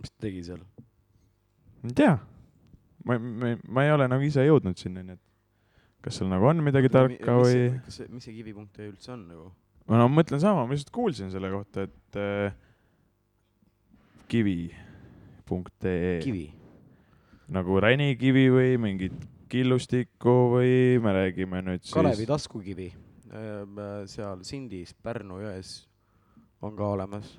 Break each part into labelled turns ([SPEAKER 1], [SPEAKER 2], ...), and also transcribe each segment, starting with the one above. [SPEAKER 1] mis ta tegi seal ?
[SPEAKER 2] ei tea . ma , ma , ma ei ole nagu ise jõudnud sinna , nii et kas seal nagu on midagi tarka või ??
[SPEAKER 1] kas see , mis see kivi.ee üldse on nagu ?
[SPEAKER 2] no ma mõtlen sama , ma lihtsalt kuulsin selle kohta , et äh, kivi.ee
[SPEAKER 1] kivi .
[SPEAKER 2] nagu ränikivi või mingit killustikku või me räägime nüüd siis
[SPEAKER 1] Kalevi taskukivi Öö, äh, seal Sindis , Pärnu jões on ka olemas .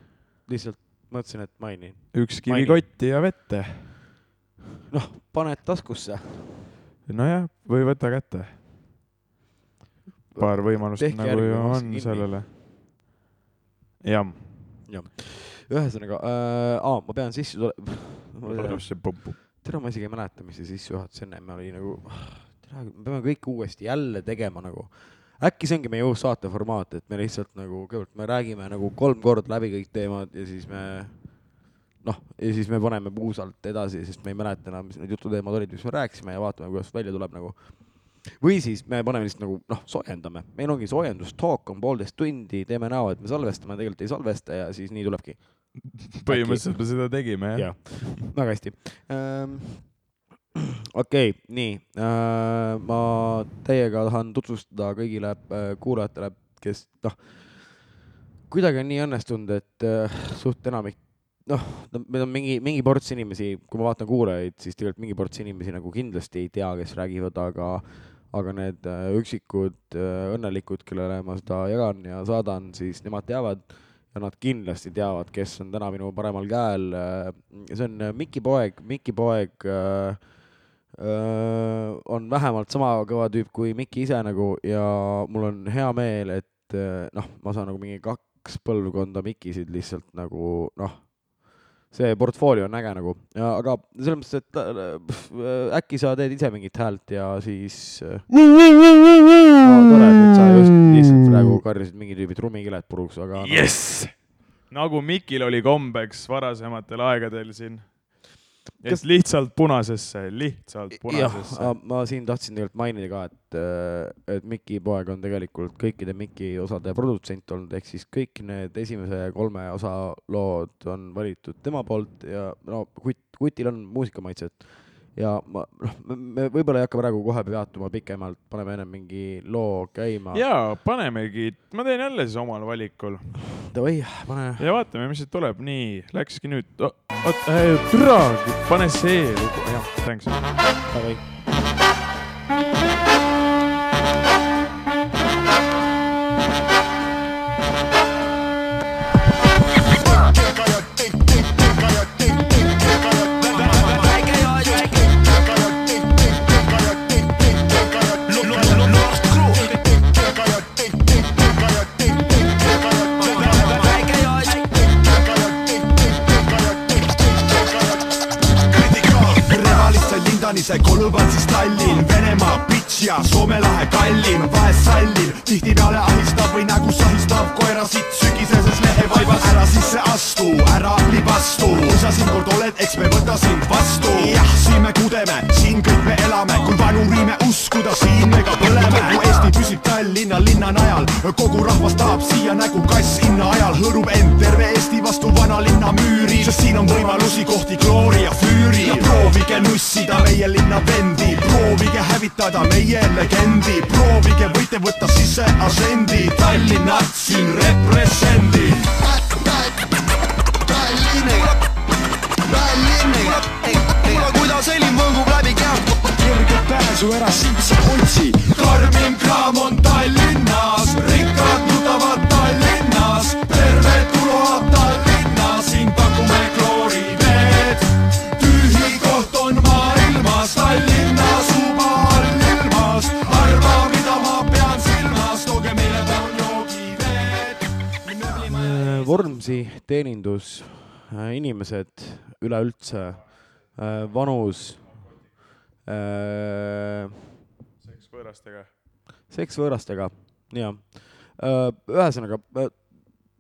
[SPEAKER 1] lihtsalt mõtlesin , et mainin .
[SPEAKER 2] üks
[SPEAKER 1] Maini.
[SPEAKER 2] kivikotti ja vette .
[SPEAKER 1] noh , paned taskusse .
[SPEAKER 2] nojah , või võta kätte . paar võimalust
[SPEAKER 1] Tehke
[SPEAKER 2] nagu
[SPEAKER 1] järgmine
[SPEAKER 2] ju
[SPEAKER 1] maks
[SPEAKER 2] on
[SPEAKER 1] kinni.
[SPEAKER 2] sellele . jah .
[SPEAKER 1] ühesõnaga äh, , aa , ma pean sisse tulema . tere , ma isegi ei mäleta , mis see sissejuhatus ennem oli nagu , tere , me peame kõike uuesti jälle tegema nagu . äkki see ongi meie uus saate formaat , et me lihtsalt nagu kõigepealt me räägime nagu kolm korda läbi kõik teemad ja siis me noh , ja siis me paneme puusalt edasi , sest me ei mäleta enam , mis need jututeemad olid , mis me rääkisime ja vaatame , kuidas välja tuleb nagu . või siis me paneme lihtsalt nagu noh , soojendame , meil ongi soojendustalk on poolteist tundi , teeme näo , et me salvestame , tegelikult ei salvesta ja siis nii tulebki .
[SPEAKER 2] põhimõtteliselt me seda tegime jah
[SPEAKER 1] Jah. väga hästi . okei , nii , ma teiega tahan tutvustada kõigile äh, kuulajatele , kes noh , kuidagi on nii õnnestunud , et äh, suht enamik noh , meil on mingi , mingi ports inimesi , kui ma vaatan kuulajaid , siis tegelikult mingi ports inimesi nagu kindlasti ei tea , kes räägivad , aga aga need äh, üksikud äh, õnnelikud , kellele ma seda jagan ja saadan , siis nemad teavad ja nad kindlasti teavad , kes on täna minu paremal käel . see on Miki poeg , Miki poeg äh, äh, on vähemalt sama kõva tüüp kui Miki ise nagu ja mul on hea meel , et äh, noh , ma saan nagu mingi kaks põlvkonda Mikisid lihtsalt nagu noh , see portfoolio on äge nagu , aga selles mõttes , et äh, pff, äh, äkki sa teed ise mingit häält ja siis äh, no, tore , nüüd sa just lihtsalt praegu karjusid mingi tüübi trummikilet puruks , aga noh. no,
[SPEAKER 2] jess ! nagu Mikil oli kombeks varasematel aegadel siin .
[SPEAKER 1] Kas-
[SPEAKER 2] Kas... lihtsalt punasesse , lihtsalt punasesse .
[SPEAKER 1] jah , ma siin tahtsin tegelikult mainida ka , et , et Miki poeg on tegelikult kõikide Miki osade produtsent olnud , ehk siis kõik need esimese kolme osa lood on valitud tema poolt ja no kut- , kutil on muusikamaitset . ja ma , noh , me võib-olla ei hakka praegu kohe peatuma pikemalt , paneme ennem mingi loo käima .
[SPEAKER 2] ja panemegi , ma teen jälle siis omal valikul
[SPEAKER 1] davai , pane .
[SPEAKER 2] ja vaatame , mis siit tuleb . nii , läkski nüüd . oot , türa , pane see . jah , thanks .
[SPEAKER 1] Davai.
[SPEAKER 3] kõrvalisse lindanise kolubantsis Tallinn , Venemaa pits ja Soome lahe kallim , vahest sallin , tihtipeale ahistab või nägu sahistab koera sitt sügiseses lehevaibas . ära sisse astu , ära libastu , kui sa siin kord oled , eks me võta sind vastu . jah , siin me kudeme , siin kõik me elame , kui vanuriime uskuda , siin me ka põleme . mu Eesti püsib Tallinna linna najal , kogu rahvas tahab siia nägu kass hinna ajal , hõõrub end terve Eesti vastu vanalinna müüri , sest siin on võimalusi kohti kloori ja füüri . proovige nussida meie linna vendi , proovige hävitada meie legendi , proovige võite võtta sisse asendi , Tallinnat siin represendi .
[SPEAKER 4] Tallinna , Tallinna , kuule kuidas heli võngub läbi keha .
[SPEAKER 3] kerget pääsu ära siit sa otsi , karmim kraam on Tallinnas , rikkad nutavad Tallinnas , tervetuloa Tallinna , siin pakume klooriveed . tühi koht on maailmas , Tallinnas juba all ilmas , arva , mida ma pean silmas , tooge meile palun joogiveed .
[SPEAKER 1] Äh, Vormsi teenindus , inimesed üleüldse , vanus , äh,
[SPEAKER 2] seks võõrastega .
[SPEAKER 1] seks võõrastega , jaa . ühesõnaga ,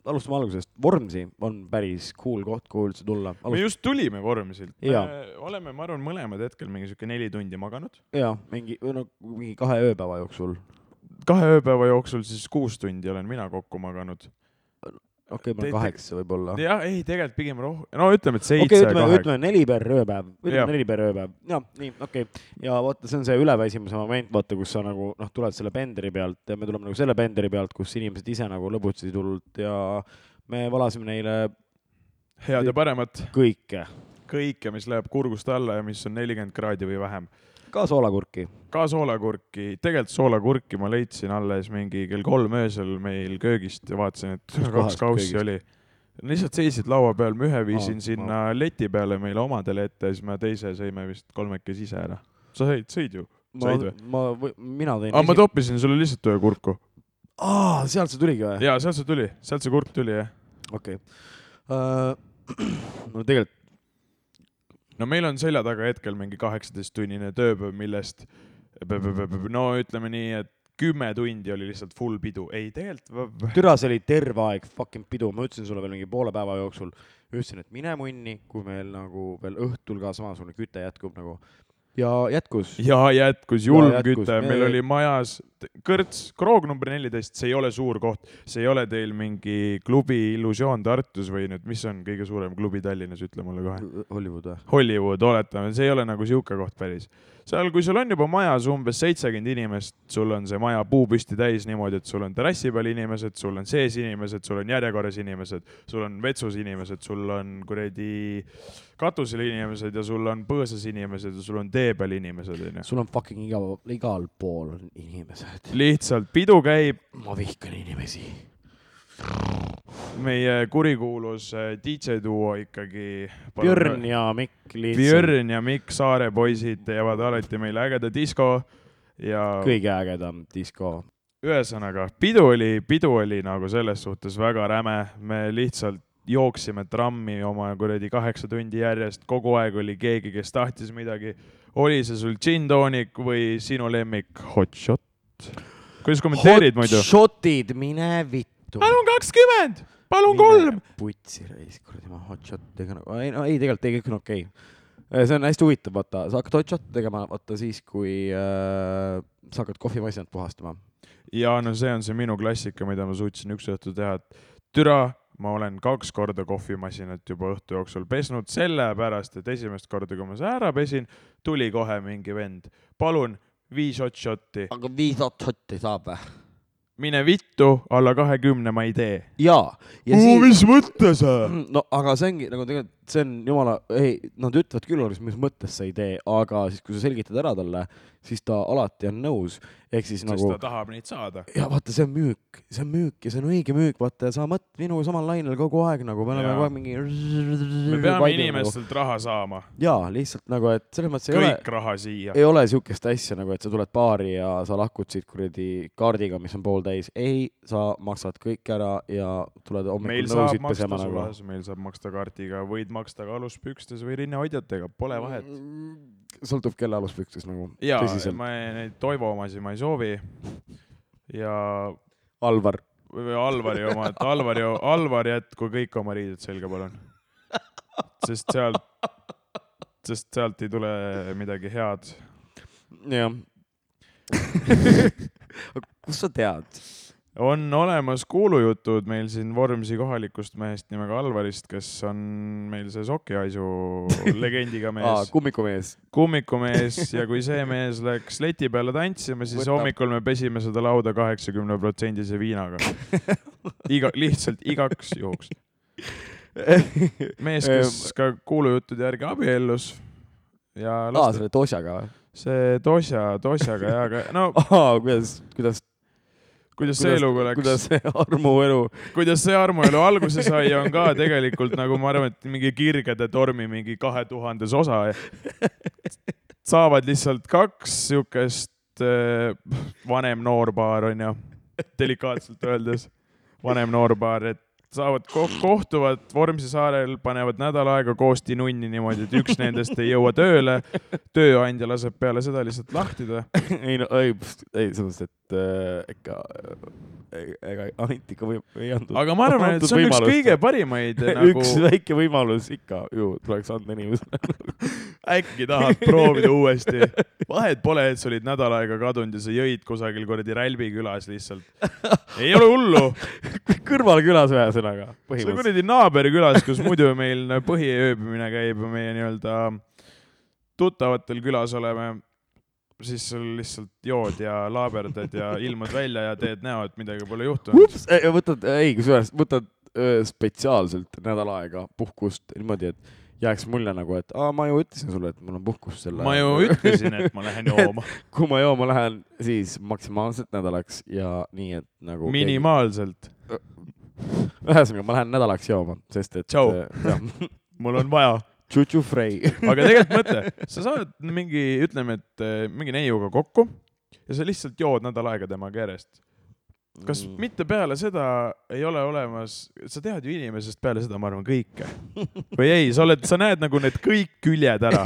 [SPEAKER 1] alustame algusest , Vormsi on päris cool koht , kuhu üldse tulla .
[SPEAKER 2] me just tulime Vormsilt .
[SPEAKER 1] Jaa.
[SPEAKER 2] oleme , ma arvan , mõlemad hetkel mingi sihuke neli tundi maganud .
[SPEAKER 1] jaa , mingi , no mingi kahe ööpäeva jooksul .
[SPEAKER 2] kahe ööpäeva jooksul siis kuus tundi olen mina kokku maganud .
[SPEAKER 1] okei , ma
[SPEAKER 2] Te-
[SPEAKER 1] olen
[SPEAKER 2] te-
[SPEAKER 1] kaheksa võib-olla .
[SPEAKER 2] jah , ei tegelikult pigem rohkem , no ütleme , et seitse
[SPEAKER 1] Ah. okei ,
[SPEAKER 2] okay, ,
[SPEAKER 1] ütleme ,
[SPEAKER 2] kaheksa .
[SPEAKER 1] ütleme neli per ööpäev ,
[SPEAKER 2] Jah.
[SPEAKER 1] ütleme neli per ööpäev . ja nii , okei okay. . ja vaata , see on see üleväsimuse moment , vaata , kus sa nagu noh , tuled selle pendri pealt ja me tuleme nagu selle pendri pealt , kus inimesed ise nagu lõbutsesid hullult ja me valasime neile
[SPEAKER 2] head ja paremat ,
[SPEAKER 1] kõike ,
[SPEAKER 2] kõike , mis läheb kurgust alla ja mis on nelikümmend kraadi või vähem .
[SPEAKER 1] ka soolakurki .
[SPEAKER 2] ka soolakurki , tegelikult soolakurki ma leidsin alles mingi kell kolm öösel meil köögist ja vaatasin , et
[SPEAKER 1] kohast
[SPEAKER 2] kaks kaussi
[SPEAKER 1] köögist?
[SPEAKER 2] oli . lihtsalt seisid laua peal , ma ühe viisin
[SPEAKER 1] Aa,
[SPEAKER 2] oh, sinna oh. leti peale meile omadele ette ja siis me teise sõime vist kolmekesi ise ära . sa sõid , sõid ju ?
[SPEAKER 1] ma
[SPEAKER 2] Said või? ,
[SPEAKER 1] ma , mina tõin .
[SPEAKER 2] aa , ma toppisin sulle lihtsalt ühe kurku .
[SPEAKER 1] aa , sealt see tuligi või ?
[SPEAKER 2] jaa , sealt see tuli , sealt see kurk tuli jah .
[SPEAKER 1] okei . no tegelikult
[SPEAKER 2] no meil on selja taga hetkel mingi kaheksateisttunnine tööpäev , millest no ütleme nii , et kümme tundi oli lihtsalt full pidu . ei , tegelikult
[SPEAKER 1] türa , see oli terve aeg fucking pidu , ma ütlesin sulle veel mingi poole päeva jooksul , ütlesin , et mine munni , kui meil nagu veel õhtul ka samasugune küte jätkub nagu ja jätkus .
[SPEAKER 2] ja jätkus julm
[SPEAKER 1] Ja jätkus.
[SPEAKER 2] küte , meil
[SPEAKER 1] Ei.
[SPEAKER 2] oli majas t- kõrts , kroog number neliteist , see ei ole suur koht , see ei ole teil mingi klubi Illusioon Tartus või nüüd , mis on kõige suurem klubi Tallinnas , ütle mulle kohe .
[SPEAKER 1] Hollywood või ?
[SPEAKER 2] Hollywood , oletame , see ei ole nagu sihuke koht päris . seal , kui sul on juba majas umbes seitsekümmend inimest , sul on see maja puupüsti täis niimoodi , et sul on terrassi peal inimesed , sul on sees inimesed , sul on järjekorras inimesed , sul on vetsus inimesed , sul on kuradi katusel inimesed ja sul on põõsas inimesed ja sul on tee peal inimesed , onju .
[SPEAKER 1] sul on fucking igal , igal pool on inimesed .
[SPEAKER 2] lihtsalt pidu käib ,
[SPEAKER 1] ma vihkan inimesi .
[SPEAKER 2] meie kurikuulus äh, DJ duo ikkagi .
[SPEAKER 1] Björn ja Mikk lihtsalt .
[SPEAKER 2] Björn ja Mikk Saare poisid teevad alati meile ägeda disko ja
[SPEAKER 1] kõige ägedam disko .
[SPEAKER 2] ühesõnaga pidu oli , pidu oli nagu selles suhtes väga räme , me lihtsalt jooksime trammi oma kuradi kaheksa tundi järjest , kogu aeg oli keegi , kes tahtis midagi . oli see sul gin tonic või sinu lemmik hot shot ? kuidas kommenteerid muidu ?
[SPEAKER 1] shot'id , mine vittu .
[SPEAKER 2] palun kakskümmend , palun kolm ,
[SPEAKER 1] putsi reis , kuradi ma hotshot tegema , ei no ei , tegelikult ei , kõik on okei okay. . see on hästi huvitav , vaata , sa hakkad hotshot tegema , vaata siis , kui äh, sa hakkad kohvimasinat puhastama .
[SPEAKER 2] ja no see on see minu klassika , mida ma suutsin üks õhtu teha , et türa , ma olen kaks korda kohvimasinat juba õhtu jooksul pesnud , sellepärast et esimest korda , kui ma selle ära pesin , tuli kohe mingi vend , palun viis hot shot'i ,
[SPEAKER 1] aga viis hotshot'i saab või ?
[SPEAKER 2] mine vittu , alla kahekümne ma ei tee .
[SPEAKER 1] jaa . ja siis ,
[SPEAKER 2] mõte sa ?
[SPEAKER 1] no aga see ongi nagu tegelikult , see on jumala , ei , nad ütlevad küll , mis mõttes sa ei tee , aga siis , kui sa selgitad ära talle , siis ta alati on nõus , ehk siis
[SPEAKER 2] sest
[SPEAKER 1] nagu
[SPEAKER 2] ta tahab neid saada .
[SPEAKER 1] ja vaata , see on müük , see on müük ja see on õige müük , vaata ja sa mõtled minuga samal lainel kogu aeg nagu , me oleme
[SPEAKER 2] Jaa.
[SPEAKER 1] kogu aeg mingi .
[SPEAKER 2] me peame . inimestelt raha saama ,
[SPEAKER 1] nagu. jaa , lihtsalt nagu , et selles mõttes ei ole ,
[SPEAKER 2] kõik raha siia .
[SPEAKER 1] ei ole sihukest asja nagu , et sa tuled baari ja sa lahkud siit kuradi kaardiga , mis on pooltäis . ei , sa maksad kõik ära ja tuled
[SPEAKER 2] meil
[SPEAKER 1] hommikul
[SPEAKER 2] saab
[SPEAKER 1] nõusid
[SPEAKER 2] maksta
[SPEAKER 1] pesema nagu .
[SPEAKER 2] sulas , meil saab maksta kaardiga , võid maksta ka aluspükstes või rinnahoidjatega , pole vahet .
[SPEAKER 1] Mm, sõltub kelle aluspüksis nagu .
[SPEAKER 2] jaa ,
[SPEAKER 1] tõsiselt .
[SPEAKER 2] ma ei- neid Toivo omasid ma ei soovi . ja
[SPEAKER 1] Alvar ,
[SPEAKER 2] või või Alvari oma , et Alvari , Alvar jätku kõik oma riided selga , palun . sest sealt , sest sealt ei tule midagi head .
[SPEAKER 1] jah kust sa tead ?
[SPEAKER 2] on olemas kuulujutud meil siin Vormsi kohalikust mehest nimega Alvarist , kes on meil see sokihaisu legendiga
[SPEAKER 1] aa ,
[SPEAKER 2] mees ,
[SPEAKER 1] kummikumees .
[SPEAKER 2] kummikumees ja kui see mees läks leti peale tantsima ,
[SPEAKER 1] Võtab.
[SPEAKER 2] siis Võtab. hommikul me pesime seda lauda kaheksakümne protsendise viinaga . iga , lihtsalt igaks juhuks . mees , kes ka kuulujuttude järgi abiellus ja
[SPEAKER 1] Ehm. aa ,
[SPEAKER 2] laste ,
[SPEAKER 1] selle tosjaga või ?
[SPEAKER 2] see Tosja , Tosjaga ja , aga no
[SPEAKER 1] aa , kuidas , kuidas ,
[SPEAKER 2] kuidas see lugu läks ,
[SPEAKER 1] Ah, kuidas see armuelu
[SPEAKER 2] kuidas see armuelu alguse sai , on ka tegelikult nagu ma arvan , et mingi kirgede tormi mingi kahe tuhandes osa . saavad lihtsalt kaks siukest äh, vanem noorpaar onju , delikaatselt öeldes , vanem noorpaar , et saavad ko , kohtuvad Vormsi saarel , panevad nädal aega koos tinunni niimoodi , et üks nendest ei jõua tööle . tööandja laseb peale seda lihtsalt lahti ta .
[SPEAKER 1] ei no ei , ei selles mõttes , et äh, ikka äh, ega anti ikka või ei antud .
[SPEAKER 2] aga ma arvan , et see on üks kõige parimaid
[SPEAKER 1] nagu...
[SPEAKER 2] nagu
[SPEAKER 1] üks väike võimalus ikka ju tuleks anda inimesele .
[SPEAKER 2] äkki tahad proovida uuesti . vahet pole , et sa olid nädal aega kadunud ja sa jõid kusagil kuradi Rälbi külas lihtsalt . ei ole hullu ,
[SPEAKER 1] kõrvalkülas ühesõnaga ,
[SPEAKER 2] see on
[SPEAKER 1] põhimõtteliselt .
[SPEAKER 2] kuradi naaberkülas , kus muidu meil no põhiööbimine käib ja meie nii-öelda tuttavatel külas oleme , siis sul lihtsalt jood ja laaberdad ja ilmud välja ja teed näo , et midagi pole juhtunud .
[SPEAKER 1] ups , võtad , ei kusjuures võtad öö, spetsiaalselt nädal aega puhkust niimoodi , et jääks mulje nagu , et aa , ma ju ütlesin sulle , et mul on puhkus selle .
[SPEAKER 2] ma ju ütlesin , et ma lähen jooma ,
[SPEAKER 1] kui ma jooma lähen , siis maksimaalselt nädalaks ja nii , et nagu .
[SPEAKER 2] minimaalselt .
[SPEAKER 1] ühesõnaga , ma lähen nädalaks jooma , sest et .
[SPEAKER 2] Tšau. . mul on vaja
[SPEAKER 1] Chuchu Frey .
[SPEAKER 2] aga tegelikult mõtle , sa saad mingi , ütleme , et eh, mingi neiuga kokku ja sa lihtsalt jood nädal aega temaga järjest . kas mm. ? mitte peale seda ei ole olemas , sa tead ju inimesest peale seda , ma arvan , kõike või ei , sa oled , sa näed nagu need kõik küljed ära ,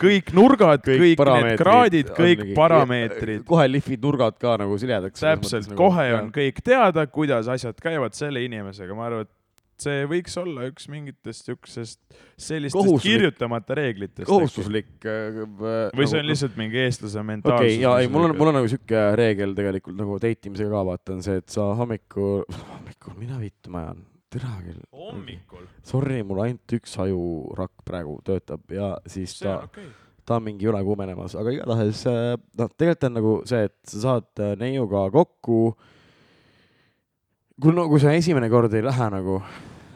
[SPEAKER 2] kõik nurgad , kõik, kõik need kraadid , kõik parameetrid .
[SPEAKER 1] kohe lihvid nurgad ka nagu siledaks .
[SPEAKER 2] täpselt , kohe on . kõik teada , kuidas asjad käivad selle inimesega , ma arvan , et see võiks olla üks mingitest siuksest , sellistest
[SPEAKER 1] Kohustuslik-
[SPEAKER 2] kirjutamata reeglitest .
[SPEAKER 1] kohustuslik . äh,
[SPEAKER 2] või
[SPEAKER 1] või
[SPEAKER 2] see on ? lihtsalt mingi eestlase
[SPEAKER 1] Nagu- noh. okei okay, ,
[SPEAKER 2] mentaalsus
[SPEAKER 1] ja ei , mul on , mul on nagu sihuke reegel tegelikult nagu teitimisega ka vaata on see , et sa hommikul , hommikul , mina vittu ma ajan , tere küll .
[SPEAKER 2] hommikul ,
[SPEAKER 1] Sorry , mul ainult üks ajurakk praegu töötab ja siis
[SPEAKER 2] see
[SPEAKER 1] ta
[SPEAKER 2] on okei okay. .
[SPEAKER 1] ta on mingi üle kuumenemas , aga igatahes äh, noh , tegelikult on nagu see , et sa saad äh, neiuga kokku . kui no , kui see esimene kord ei lähe nagu ,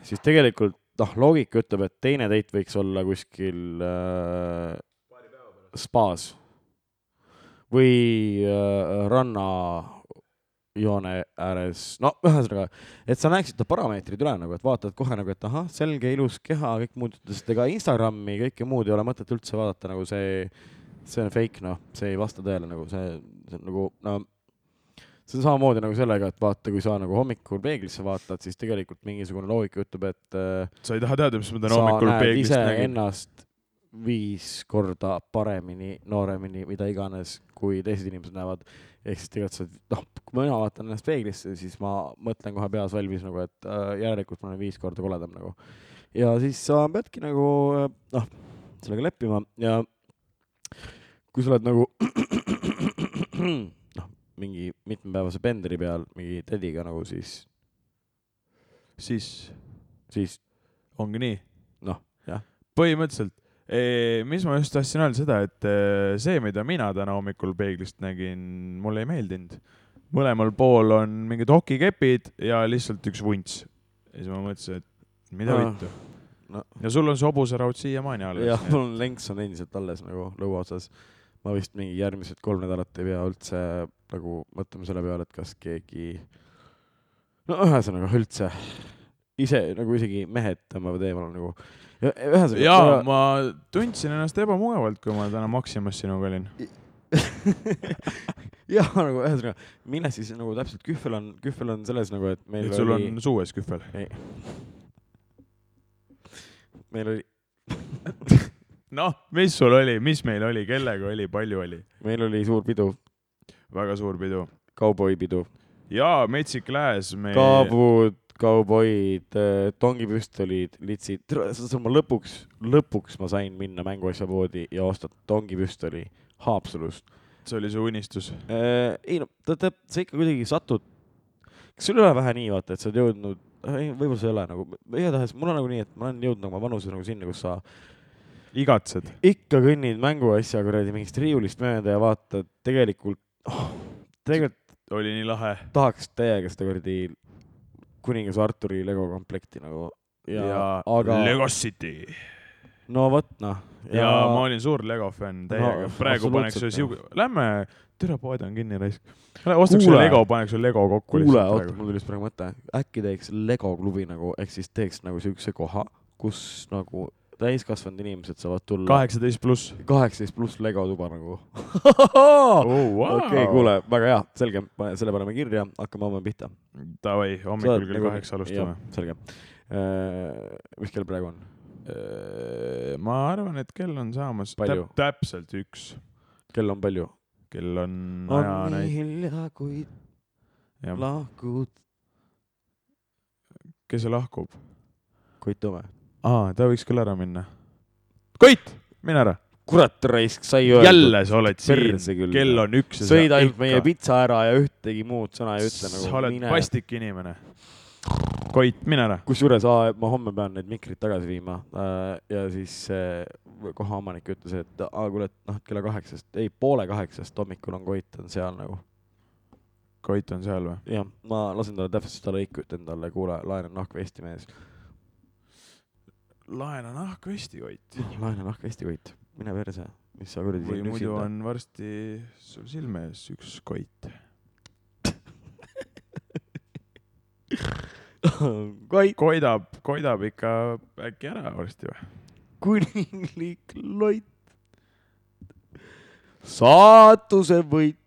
[SPEAKER 1] siis tegelikult noh , loogika ütleb , et teine date võiks olla kuskil äh, spaas või äh, rannajoone ääres , no ühesõnaga , et sa näeksid need parameetrid üle nagu , et vaatad kohe nagu , et ahah , selge ilus keha , kõik muud , sest ega Instagrami kõike muud ei ole mõtet üldse vaadata , nagu see , see on fake , noh , see ei vasta tõele nagu see , see on nagu , no see on samamoodi nagu sellega , et vaata , kui sa nagu hommikul peeglisse vaatad , siis tegelikult mingisugune loogika ütleb , et äh,
[SPEAKER 2] sa ei taha teada , mis ma täna
[SPEAKER 1] sa
[SPEAKER 2] hommikul
[SPEAKER 1] näed
[SPEAKER 2] peeglist
[SPEAKER 1] ise
[SPEAKER 2] nägin ?
[SPEAKER 1] ennast viis korda paremini , nooremini , mida iganes , kui teised inimesed näevad . ehk siis tegelikult sa oled , noh , kui mina vaatan ennast peeglisse , siis ma mõtlen kohe peas valmis nagu , et äh, järelikult ma olen viis korda koledam nagu . ja siis sa peadki nagu äh, noh , sellega leppima ja kui sa oled nagu noh , mingi mitmepäevase pendri peal mingi tädiga nagu siis ,
[SPEAKER 2] siis
[SPEAKER 1] siis
[SPEAKER 2] ongi nii .
[SPEAKER 1] Noh, jah. .
[SPEAKER 2] põhimõtteliselt , mis ma just tahtsin öelda , seda , et eh, see , mida mina täna hommikul peeglist nägin , mulle ei meeldinud . mõlemal pool on mingid hokikepid ja lihtsalt üks vunts . ja siis ma mõtlesin , et mida
[SPEAKER 1] Ah,
[SPEAKER 2] vittu
[SPEAKER 1] no.
[SPEAKER 2] ja sul on see hobuseraud siiamaani
[SPEAKER 1] jah ,
[SPEAKER 2] alles .
[SPEAKER 1] mul on lenks on endiselt alles nagu lõua otsas . ma vist mingi järgmised kolm nädalat ei pea üldse nagu mõtlema selle peale , et kas keegi , no ühesõnaga üldse ise nagu isegi mehed tõmbavad eemale nagu . ühesõnaga .
[SPEAKER 2] ja ma tundsin ennast ebamugavalt , kui ma täna Maximas sinuga olin .
[SPEAKER 1] jah , nagu ühesõnaga , mine siis nagu täpselt kühvel on , kühvel on selles nagu , et meil
[SPEAKER 2] et sul
[SPEAKER 1] oli
[SPEAKER 2] on , suu ees kühvel .
[SPEAKER 1] meil oli ,
[SPEAKER 2] noh , mis sul oli , mis meil oli , kellega oli , palju oli ?
[SPEAKER 1] meil oli suur pidu ,
[SPEAKER 2] väga suur pidu .
[SPEAKER 1] kauboipidu ,
[SPEAKER 2] jaa , Metsik Lääs , me
[SPEAKER 1] kaabud , kauboid , tongipüstolid , litsid , ma lõpuks , lõpuks ma sain minna mänguasjapoodi ja osta tongipüstoli Haapsalust .
[SPEAKER 2] see oli su unistus .
[SPEAKER 1] ei no , tead , sa ikka kuidagi satud , kas sul ei ole vähe nii , vaata , et sa oled jõudnud , ei , võib-olla see ei ole nagu , igatahes mul on nagu nii , et ma olen jõudnud oma vanuses nagu sinna , kus sa
[SPEAKER 2] igatsed ?
[SPEAKER 1] ikka kõnnid mänguasja kuradi mingist riiulist mööda ja vaatad tegelikult oh, , tegelikult
[SPEAKER 2] oli nii lahe .
[SPEAKER 1] tahaks täiega seda kuradi kuningas Arturi Lego komplekti nagu ja, ja aga
[SPEAKER 2] aga... Lego City .
[SPEAKER 1] no vot noh .
[SPEAKER 2] ja ma olin suur Lego fänn täiega
[SPEAKER 1] No,
[SPEAKER 2] no, . praegu paneks
[SPEAKER 1] absoluutselt,
[SPEAKER 2] sulle siuke
[SPEAKER 1] jah. ,
[SPEAKER 2] lähme , türa poed on kinni raisk . ostaks
[SPEAKER 1] Kuule.
[SPEAKER 2] sulle Lego , paneks sulle Lego kokku
[SPEAKER 1] kuule ,
[SPEAKER 2] lihtsalt
[SPEAKER 1] oota ,
[SPEAKER 2] praegu .
[SPEAKER 1] mul tuli just praegu mõte , äkki teeks Lego klubi nagu , ehk siis teeks nagu siukse koha , kus nagu täiskasvanud inimesed saavad tulla
[SPEAKER 2] kaheksateist pluss .
[SPEAKER 1] kaheksateist pluss Lego tuba nagu . Ah,
[SPEAKER 2] Oh,
[SPEAKER 1] okei ,
[SPEAKER 2] okei ,
[SPEAKER 1] kuule , väga hea , selge , selle paneme kirja , hakkame homme pihta .
[SPEAKER 2] Davai , hommikul
[SPEAKER 1] nagu-
[SPEAKER 2] kell kaheksa alustame .
[SPEAKER 1] selge . mis kell praegu on ? Äh,
[SPEAKER 2] ma arvan , et kell on saamas
[SPEAKER 1] Palju?
[SPEAKER 2] täp- täpselt üks .
[SPEAKER 1] kell on palju ?
[SPEAKER 2] kell on
[SPEAKER 1] on nii
[SPEAKER 2] ajanäit-
[SPEAKER 1] hilja , kui
[SPEAKER 2] jah.
[SPEAKER 1] lahkud .
[SPEAKER 2] kes see lahkub ?
[SPEAKER 1] Koit Toome .
[SPEAKER 2] aa , ta võiks küll ära minna . Koit , mine ära .
[SPEAKER 1] kurat raisk , sai öeldud .
[SPEAKER 2] jälle sa oled siin
[SPEAKER 1] Perse , küll.
[SPEAKER 2] kell on üks .
[SPEAKER 1] sõid ainult meie pitsa ära ja ühtegi muud sõna ei ütle nagu .
[SPEAKER 2] sa oled vastik inimene . Koit , mine ära .
[SPEAKER 1] kusjuures aa, ma homme pean need mikrid tagasi viima äh, ja siis äh, kohaomanik ütles , et aa, kuule , et noh , kella kaheksast , ei poole kaheksast hommikul on Koit on seal nagu .
[SPEAKER 2] Koit on seal või ?
[SPEAKER 1] jah , ma lasen talle täpselt seda lõiku , ütlen talle , kuule , laene nahk Eesti mees ,
[SPEAKER 2] laena nahku Eesti Koit .
[SPEAKER 1] laene nahk Eesti Koit , mine perse , mis sa kuradi
[SPEAKER 2] või
[SPEAKER 1] siin
[SPEAKER 2] muidu
[SPEAKER 1] üksinda .
[SPEAKER 2] on varsti sul silme ees üks Koit .
[SPEAKER 1] Koit ,
[SPEAKER 2] koidab , koidab ikka äkki ära varsti või ?
[SPEAKER 1] kuninglik loit . saatuse võit .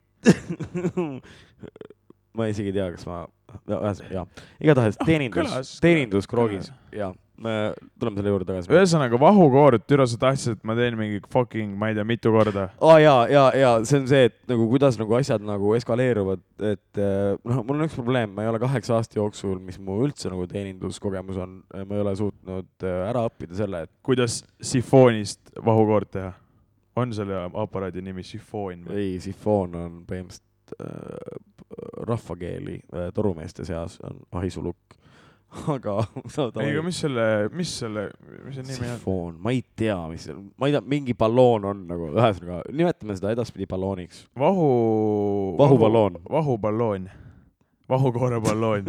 [SPEAKER 1] ma isegi ei tea , kas ma , ühesõnaga jaa , igatahes teenindus
[SPEAKER 2] Ah, kõlas- ,
[SPEAKER 1] teeninduskrogis ja me tuleme selle juurde tagasi .
[SPEAKER 2] ühesõnaga vahukoor , türa , sa tahtsid , et ma teen mingi fucking , ma ei tea , mitu korda .
[SPEAKER 1] aa oh, jaa , jaa , jaa , see on see , et nagu kuidas nagu asjad nagu eskaleeruvad , et eh, noh , mul on üks probleem , ma ei ole kaheksa aasta jooksul , mis mu üldse nagu teeninduskogemus on , ma ei ole suutnud eh, ära õppida selle , et
[SPEAKER 2] kuidas sifoonist vahukoort teha ? on selle aparaadi nimi sifoon või ?
[SPEAKER 1] ei , sifoon on põhimõtteliselt äh, rahvakeeli äh, torumeeste seas on ahisulukk . aga saad
[SPEAKER 2] ei , aga mis selle , mis selle , mis see nimi on ?
[SPEAKER 1] sifoon , ma ei tea , mis , ma ei tea , mingi balloon on nagu , ühesõnaga nimetame seda edaspidi ballooniks .
[SPEAKER 2] vahu .
[SPEAKER 1] Vahuballoon.
[SPEAKER 2] vahuballoon . vahukoore balloon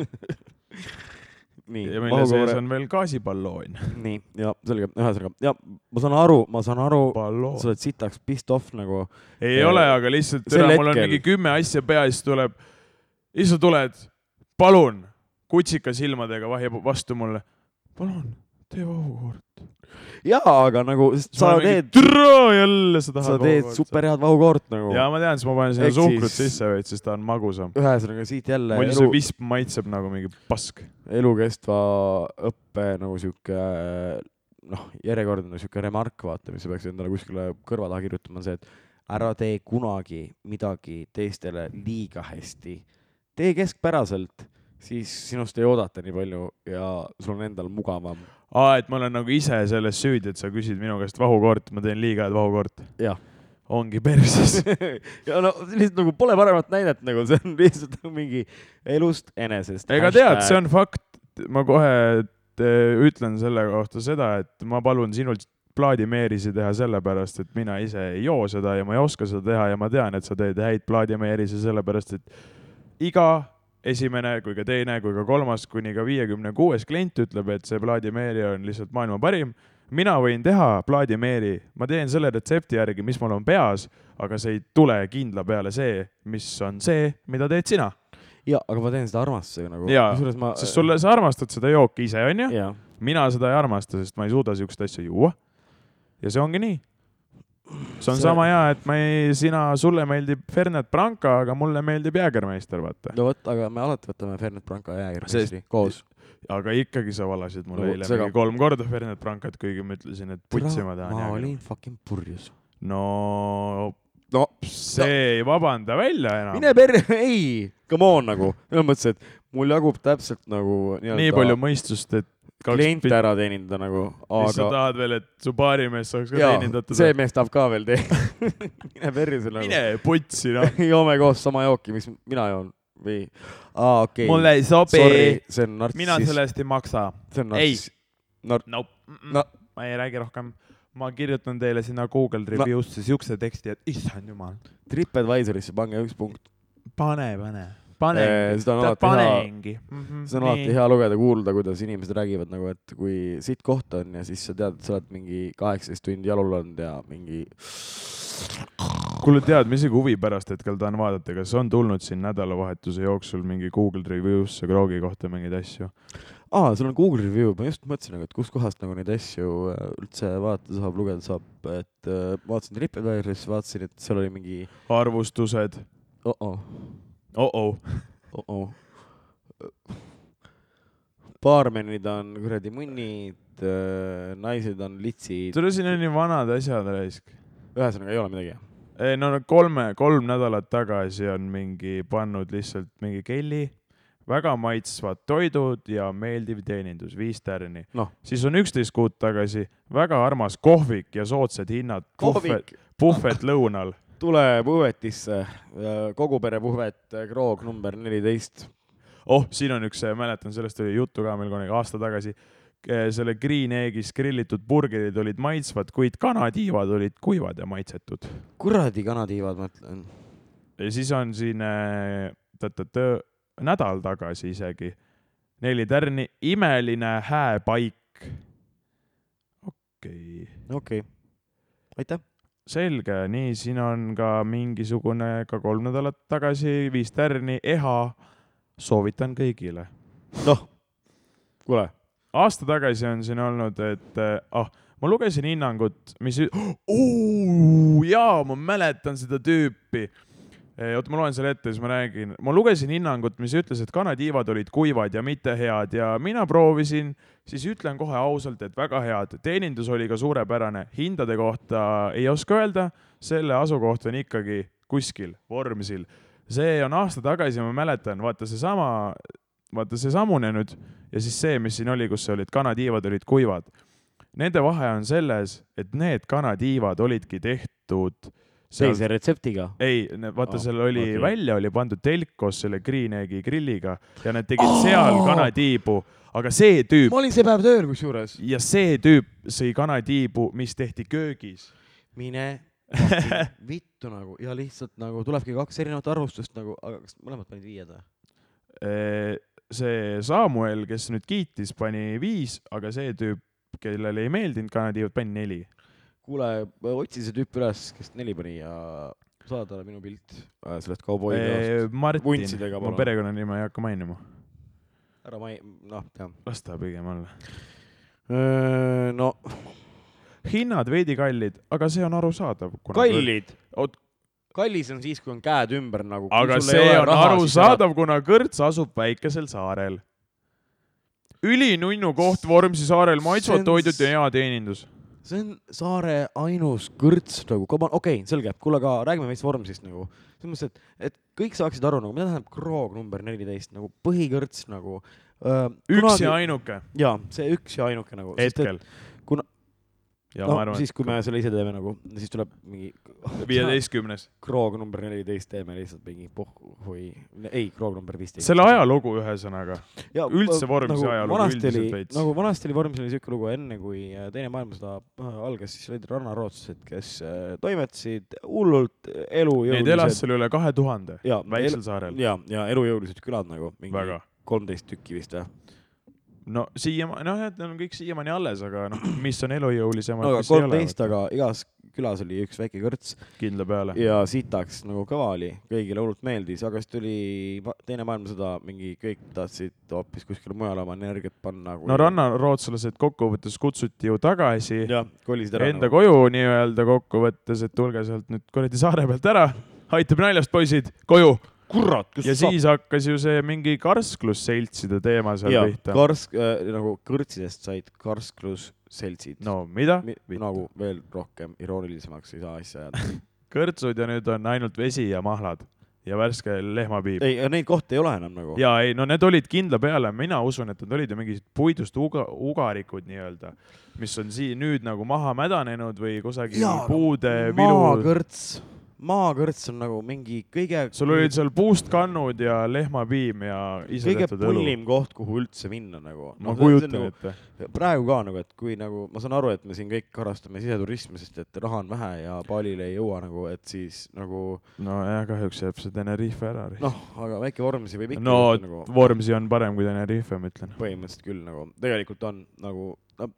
[SPEAKER 1] nii
[SPEAKER 2] ja , mille sees on veel gaasiballoon .
[SPEAKER 1] nii ja selge , ühesõnaga ja ma saan aru , ma saan aru ,
[SPEAKER 2] balloon .
[SPEAKER 1] sa oled sitaks pissed off nagu
[SPEAKER 2] ei
[SPEAKER 1] Eh,
[SPEAKER 2] ole , aga lihtsalt
[SPEAKER 1] sel
[SPEAKER 2] täna mul on
[SPEAKER 1] hetkel-
[SPEAKER 2] mingi kümme asja pea , siis tuleb , siis sa tuled , palun , kutsika silmadega vahib vastu mulle . palun , tee vahukoort .
[SPEAKER 1] jaa , aga nagu sest sa teed ,
[SPEAKER 2] türa jälle sa tahad .
[SPEAKER 1] sa teed super . head vahukoort nagu .
[SPEAKER 2] ja ma tean , siis ma panen sinna
[SPEAKER 1] Ehk
[SPEAKER 2] suhkrut
[SPEAKER 1] siis-
[SPEAKER 2] sisse veits , siis ta on magusam .
[SPEAKER 1] ühesõnaga siit jälle elu
[SPEAKER 2] muidu see , visp maitseb nagu mingi pask .
[SPEAKER 1] elukestva õppe nagu sihuke noh , järjekordne sihuke remark , vaata , mis sa peaksid endale kuskile kõrva taha kirjutama , on see , et ära tee kunagi midagi teistele liiga hästi . tee keskpäraselt , siis sinust ei oodata nii palju ja sul on endal mugavam .
[SPEAKER 2] aa , et ma olen nagu ise selles süüdi , et sa küsid minu käest vahukoort , ma teen liiga head vahukoort .
[SPEAKER 1] jah .
[SPEAKER 2] ongi perses .
[SPEAKER 1] ja no lihtsalt nagu pole paremat näidet nagu see on lihtsalt nagu mingi elust enesest .
[SPEAKER 2] ega tead , see on fakt , ma kohe eh, ütlen selle kohta seda , et ma palun sinult plaadimeerisi teha sellepärast , et mina ise ei joo seda ja ma ei oska seda teha ja ma tean , et sa teed häid plaadimeerisi sellepärast , et iga esimene kui ka teine kui ka kolmas kuni ka viiekümne kuues klient ütleb , et see plaadimeeri on lihtsalt maailma parim . mina võin teha plaadimeeri , ma teen selle retsepti järgi , mis mul on peas , aga see ei tule kindla peale see , mis on see , mida teed sina
[SPEAKER 1] ja , aga ma teen seda armastusega nagu .
[SPEAKER 2] Jaa,
[SPEAKER 1] kusjuures ma .
[SPEAKER 2] sest sulle , sa armastad seda jooki ise , onju .
[SPEAKER 1] jah
[SPEAKER 2] mina seda ei armasta , sest ma ei suuda siukseid asju juua . ja see ongi nii . see on
[SPEAKER 1] See-
[SPEAKER 2] see... sama hea , et ma ei , sina , sulle meeldib Fernet Branca , aga mulle meeldib Jägermeister , vaata .
[SPEAKER 1] no vot , aga me alati võtame Fernet Branca ja jäägirmeistri
[SPEAKER 2] Sest-
[SPEAKER 1] koos .
[SPEAKER 2] aga ikkagi sa valasid mulle
[SPEAKER 1] No
[SPEAKER 2] no,
[SPEAKER 1] vot,
[SPEAKER 2] eile
[SPEAKER 1] seda-
[SPEAKER 2] seda... mingi kolm korda Fernet Brancat , kuigi ma ütlesin , et putsi ma tahan
[SPEAKER 1] ma
[SPEAKER 2] Jägermeisterit .
[SPEAKER 1] olin fucking purjus .
[SPEAKER 2] no
[SPEAKER 1] no
[SPEAKER 2] see no. ei vabanda välja enam .
[SPEAKER 1] mine perre , ei , come on nagu , selles mõttes , et mul jagub täpselt nagu
[SPEAKER 2] nii palju mõistust , et kaks
[SPEAKER 1] kliente ära teenindada nagu ,
[SPEAKER 2] mis sa
[SPEAKER 1] aga
[SPEAKER 2] tahad veel , et su baarimees saaks ka
[SPEAKER 1] jaa ,
[SPEAKER 2] teenindatud ?
[SPEAKER 1] see mees tahab ka veel teenindada . mine perre selle
[SPEAKER 2] mine
[SPEAKER 1] nagu .
[SPEAKER 2] putsi noh .
[SPEAKER 1] joome koos sama jooki , mis mina joon või , aa okei okay. ,
[SPEAKER 2] ei sobi
[SPEAKER 1] sorry , see on
[SPEAKER 2] mina
[SPEAKER 1] nartsiss ,
[SPEAKER 2] sellest ei maksa .
[SPEAKER 1] see on
[SPEAKER 2] ei.
[SPEAKER 1] nartsiss , Nar-
[SPEAKER 2] Nope.
[SPEAKER 1] No.
[SPEAKER 2] No. ma ei räägi rohkem . ma kirjutan teile sinna Google Review'sse no. siukse teksti , et issand jumal .
[SPEAKER 1] Tripadvisorisse pange üks punkt .
[SPEAKER 2] pane , pane .
[SPEAKER 1] Eh, seda on
[SPEAKER 2] Ta
[SPEAKER 1] alati hea-
[SPEAKER 2] panengi. Mhm,
[SPEAKER 1] see on alati
[SPEAKER 2] nii.
[SPEAKER 1] hea lugeda , kuulda , kuidas inimesed räägivad nagu , et kui siit koht on ja siis sa tead , et sa oled mingi kaheksateist tundi jalul olnud ja mingi .
[SPEAKER 2] kuule , tead , ma isegi huvi pärast hetkel tahan vaadata , kas on tulnud siin nädalavahetuse jooksul mingi Google Review'sse Kroogi kohta mingeid asju .
[SPEAKER 1] aa , sul on Google review , ma just mõtlesin , et kustkohast nagu neid asju äh, üldse vaadata saab , lugeda saab , et äh, vaatasin Tripadvisorisse , vaatasin , et seal oli mingi
[SPEAKER 2] arvustused .
[SPEAKER 1] oh-oh ,
[SPEAKER 2] oh-oh .
[SPEAKER 1] oh-oh . baarmenid on kuradi munnid , naised on litsid ,
[SPEAKER 2] tule , siin on nii vanad asjad raisk .
[SPEAKER 1] ühesõnaga ei ole midagi .
[SPEAKER 2] ei no no kolme , kolm nädalat tagasi on mingi pannud lihtsalt mingi Kelly väga maitsvad toidud ja meeldiv teenindus , viis tärni .
[SPEAKER 1] noh ,
[SPEAKER 2] siis on üksteist kuud tagasi väga armas kohvik ja soodsad hinnad .
[SPEAKER 1] kohvik ,
[SPEAKER 2] puhvet lõunal .
[SPEAKER 1] tule Äh, puhvetisse , kogu pere puhvet , äh, kroog number neliteist .
[SPEAKER 2] oh , siin on üks , mäletan , sellest oli juttu ka meil kunagi aasta tagasi . selle Green Eggis grillitud burgerid olid maitsvad , kuid kanatiivad olid kuivad ja maitsetud .
[SPEAKER 1] kuradi kanatiivad , ma ütlen .
[SPEAKER 2] ja siis on siin äh, tõ-tõ-tõ, nädal tagasi isegi neli tärni , imeline hääpaik . okei okay. ,
[SPEAKER 1] okei okay. , aitäh .
[SPEAKER 2] selge , nii , siin on ka mingisugune ka kolm nädalat tagasi viis tärni , eha , soovitan kõigile .
[SPEAKER 1] noh , kuule ,
[SPEAKER 2] aasta tagasi on siin olnud , et eh, ah , ma lugesin hinnangut , mis , jaa , ma mäletan seda tüüpi . oota , ma loen selle ette , siis ma räägin . ma lugesin hinnangut , mis ütles , et kanatiivad olid kuivad ja mitte head ja mina proovisin , siis ütlen kohe ausalt , et väga head . teenindus oli ka suurepärane , hindade kohta ei oska öelda , selle asukoht on ikkagi kuskil Vormsil . see on aasta tagasi , ma mäletan , vaata seesama , vaata seesamune nüüd ja siis see , mis siin oli , kus olid kanatiivad olid kuivad . Nende vahe on selles , et need kanatiivad olidki tehtud seal...
[SPEAKER 1] teise retseptiga .
[SPEAKER 2] ei , vaata
[SPEAKER 1] Aa,
[SPEAKER 2] oh, , seal oli
[SPEAKER 1] okei.
[SPEAKER 2] okay. välja oli pandud telk koos selle Green Eggi grilliga ja nad tegid oh! seal kanatiibu , aga see tüüp
[SPEAKER 1] ma olin see päev tööl kusjuures .
[SPEAKER 2] ja see tüüp sõi kanatiibu , mis tehti köögis .
[SPEAKER 1] mine vittu nagu ja lihtsalt nagu tulebki kaks erinevat arvustust nagu , aga kas mõlemad panid viied või ?
[SPEAKER 2] eh, see Samuel , kes nüüd kiitis , pani viis , aga see tüüp , kellele ei meeldinud kanatiivad , pani neli .
[SPEAKER 1] kuule , otsi see tüüp üles , kes neli pani ja saada talle minu pilt äh, sellest kauboipeost .
[SPEAKER 2] Martin ,
[SPEAKER 1] vuntsidega
[SPEAKER 2] ma
[SPEAKER 1] palun.
[SPEAKER 2] perekonnanime ei hakka mainima ,
[SPEAKER 1] ära ma ei , noh , jah .
[SPEAKER 2] las ta pigem olla . Äh,
[SPEAKER 1] no
[SPEAKER 2] hinnad veidi kallid , aga see on arusaadav .
[SPEAKER 1] kallid .
[SPEAKER 2] Oot-
[SPEAKER 1] kallis on siis , kui on käed ümber nagu .
[SPEAKER 2] aga see on arusaadav , kuna Kõrts asub väikesel saarel . ülinunnu koht Vormsi saarel ,
[SPEAKER 1] See
[SPEAKER 2] maitsvad
[SPEAKER 1] on-
[SPEAKER 2] toidud ja hea teenindus .
[SPEAKER 1] see on saare ainus kõrts nagu , okei okay, , selge , kuule , aga räägime veits Vormsist nagu . selles mõttes , et , et kõik saaksid aru nagu , mida tähendab kroog number neliteist nagu põhikõrts nagu .
[SPEAKER 2] üks ja . ainuke
[SPEAKER 1] jaa , see üks ja ainuke nagu .
[SPEAKER 2] hetkel .
[SPEAKER 1] kuna-
[SPEAKER 2] ja
[SPEAKER 1] no
[SPEAKER 2] ma arvan ,
[SPEAKER 1] siis , kui me selle ise teeme nagu , siis tuleb mingi .
[SPEAKER 2] et . viieteistkümnes .
[SPEAKER 1] kroog number neliteist teeme lihtsalt mingi pohhu või , ei , kroog number viisteist .
[SPEAKER 2] selle ajalugu ühesõnaga .
[SPEAKER 1] ja,
[SPEAKER 2] üldse
[SPEAKER 1] äh,
[SPEAKER 2] Vormsi ajalugu
[SPEAKER 1] vanasti
[SPEAKER 2] üldiselt
[SPEAKER 1] oli-
[SPEAKER 2] veits.
[SPEAKER 1] nagu vanasti oli Vormsil oli siuke lugu , enne kui äh, Teine maailmasõda äh, algas , siis olid rannarootslased , kes äh, toimetasid hullult äh,
[SPEAKER 2] Neid
[SPEAKER 1] elujõulised
[SPEAKER 2] elas seal üle kahe tuhande
[SPEAKER 1] ja
[SPEAKER 2] väiksel saarel .
[SPEAKER 1] ja , ja elujõulised külad nagu mingi
[SPEAKER 2] väga .
[SPEAKER 1] kolmteist tükki vist või ?
[SPEAKER 2] no siiamaani , noh , need on kõik siiamaani alles , aga noh , mis on elujõulisemad
[SPEAKER 1] no , aga
[SPEAKER 2] mis ei ole ,
[SPEAKER 1] kolmteist , aga igas külas oli üks väike kõrts
[SPEAKER 2] kindla peale .
[SPEAKER 1] ja sitaks nagu kõva oli , kõigile hullult meeldis , aga siis tuli va- Teine maailmasõda , mingi kõik tahtsid hoopis kuskile mujale oma energiat panna .
[SPEAKER 2] no . rannarootslased kokkuvõttes kutsuti ju tagasi
[SPEAKER 1] jah , kolisid ära . nagu.
[SPEAKER 2] enda koju nii-öelda kokkuvõttes , et tulge sealt nüüd kuradi saare pealt ära , aitab naljast , poisid , koju .
[SPEAKER 1] kurat , kus
[SPEAKER 2] ja siis hakkas ju see mingi karsklusseltside teema seal
[SPEAKER 1] ja,
[SPEAKER 2] ja, pihta .
[SPEAKER 1] karsk äh, , nagu kõrtsidest said karsklusseltsid
[SPEAKER 2] no mida
[SPEAKER 1] Mi . nagu veel rohkem iroonilisemaks ei saa asja ajada .
[SPEAKER 2] kõrtsud ja nüüd on ainult vesi ja mahlad ja värske lehmapiip .
[SPEAKER 1] ei , neid kohti ei ole enam nagu .
[SPEAKER 2] ja ei , no need olid kindla peale , mina usun , et nad olid ju mingid puidust uga, ugarikud nii-öelda , mis on siin nüüd nagu maha mädanenud või kusagil
[SPEAKER 1] Jaa,
[SPEAKER 2] puude vilu .
[SPEAKER 1] maakõrts , maakõrts on nagu mingi kõige ,
[SPEAKER 2] sul olid seal puust kannud ja lehmapiim ja ise
[SPEAKER 1] kõige
[SPEAKER 2] tehtud õlu .
[SPEAKER 1] pullim koht , kuhu üldse minna nagu .
[SPEAKER 2] ma kujutan ette .
[SPEAKER 1] ette . praegu ka nagu , et kui nagu ma saan aru , et me siin kõik harrastame siseturismi , sest et raha on vähe ja baalile ei jõua nagu , et siis nagu
[SPEAKER 2] nojah , kahjuks jääb see Tenerife ära .
[SPEAKER 1] noh , aga väike Vormsi võib ikka
[SPEAKER 2] no
[SPEAKER 1] võtta nagu
[SPEAKER 2] Vormsi on parem kui Tenerife , ma ütlen .
[SPEAKER 1] põhimõtteliselt küll nagu , tegelikult on nagu no, ,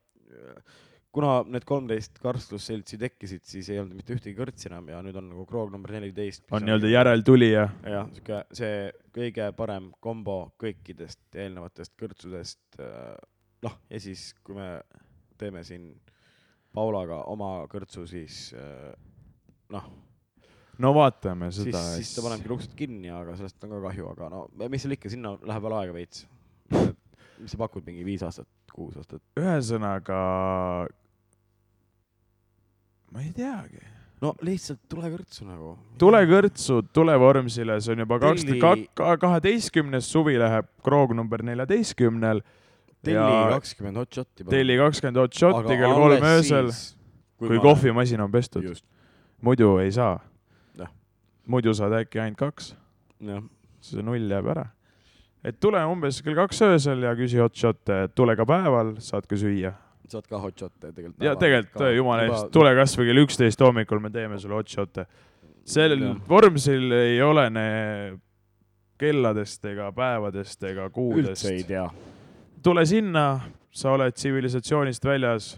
[SPEAKER 1] kuna need kolmteist karstlusseltsi tekkisid , siis ei olnud mitte ühtegi kõrtsi enam ja nüüd on nagu kroog number neliteist .
[SPEAKER 2] on nii-öelda . järeltulija .
[SPEAKER 1] jah , sihuke see kõige parem kombo kõikidest eelnevatest kõrtsudest . noh , ja siis , kui me teeme siin Paulaga oma kõrtsu , siis äh, noh ,
[SPEAKER 2] no vaatame
[SPEAKER 1] siis
[SPEAKER 2] seda ,.
[SPEAKER 1] siis ta panebki luksed kinni , aga sellest on ka kahju , aga no mis seal ikka , sinna läheb veel aega veits . mis sa pakud , mingi viis aastat , kuus aastat ?
[SPEAKER 2] ühesõnaga , ma ei teagi ,
[SPEAKER 1] no lihtsalt tule kõrtsu nagu .
[SPEAKER 2] tule kõrtsu , tule Vormsile , see on juba kaks
[SPEAKER 1] Telli- ,
[SPEAKER 2] kaheteistkümnes suvi läheb kroog number neljateistkümnel .
[SPEAKER 1] telli kakskümmend hot shot'i .
[SPEAKER 2] telli kakskümmend hot shot'i kell kolm öösel , kui . kohvimasin on pestud .
[SPEAKER 1] just ,
[SPEAKER 2] muidu ei saa
[SPEAKER 1] Jah. .
[SPEAKER 2] muidu saad äkki ainult kaks ,
[SPEAKER 1] jah .
[SPEAKER 2] siis see null jääb ära . et tule umbes kell kaks öösel ja küsi hot shot'e , tule ka päeval , saad ka süüa .
[SPEAKER 1] saad ka hot shot'e tegelikult .
[SPEAKER 2] ja tegelikult eh, jumala eest ,. tule kasvõi kell üksteist hommikul , me teeme sulle hot shot'e . sellel
[SPEAKER 1] Jah.
[SPEAKER 2] Vormsil ei ole ne kelladest ega päevadest ega kuudest
[SPEAKER 1] üldse ei . tea .
[SPEAKER 2] tule sinna , sa oled tsivilisatsioonist väljas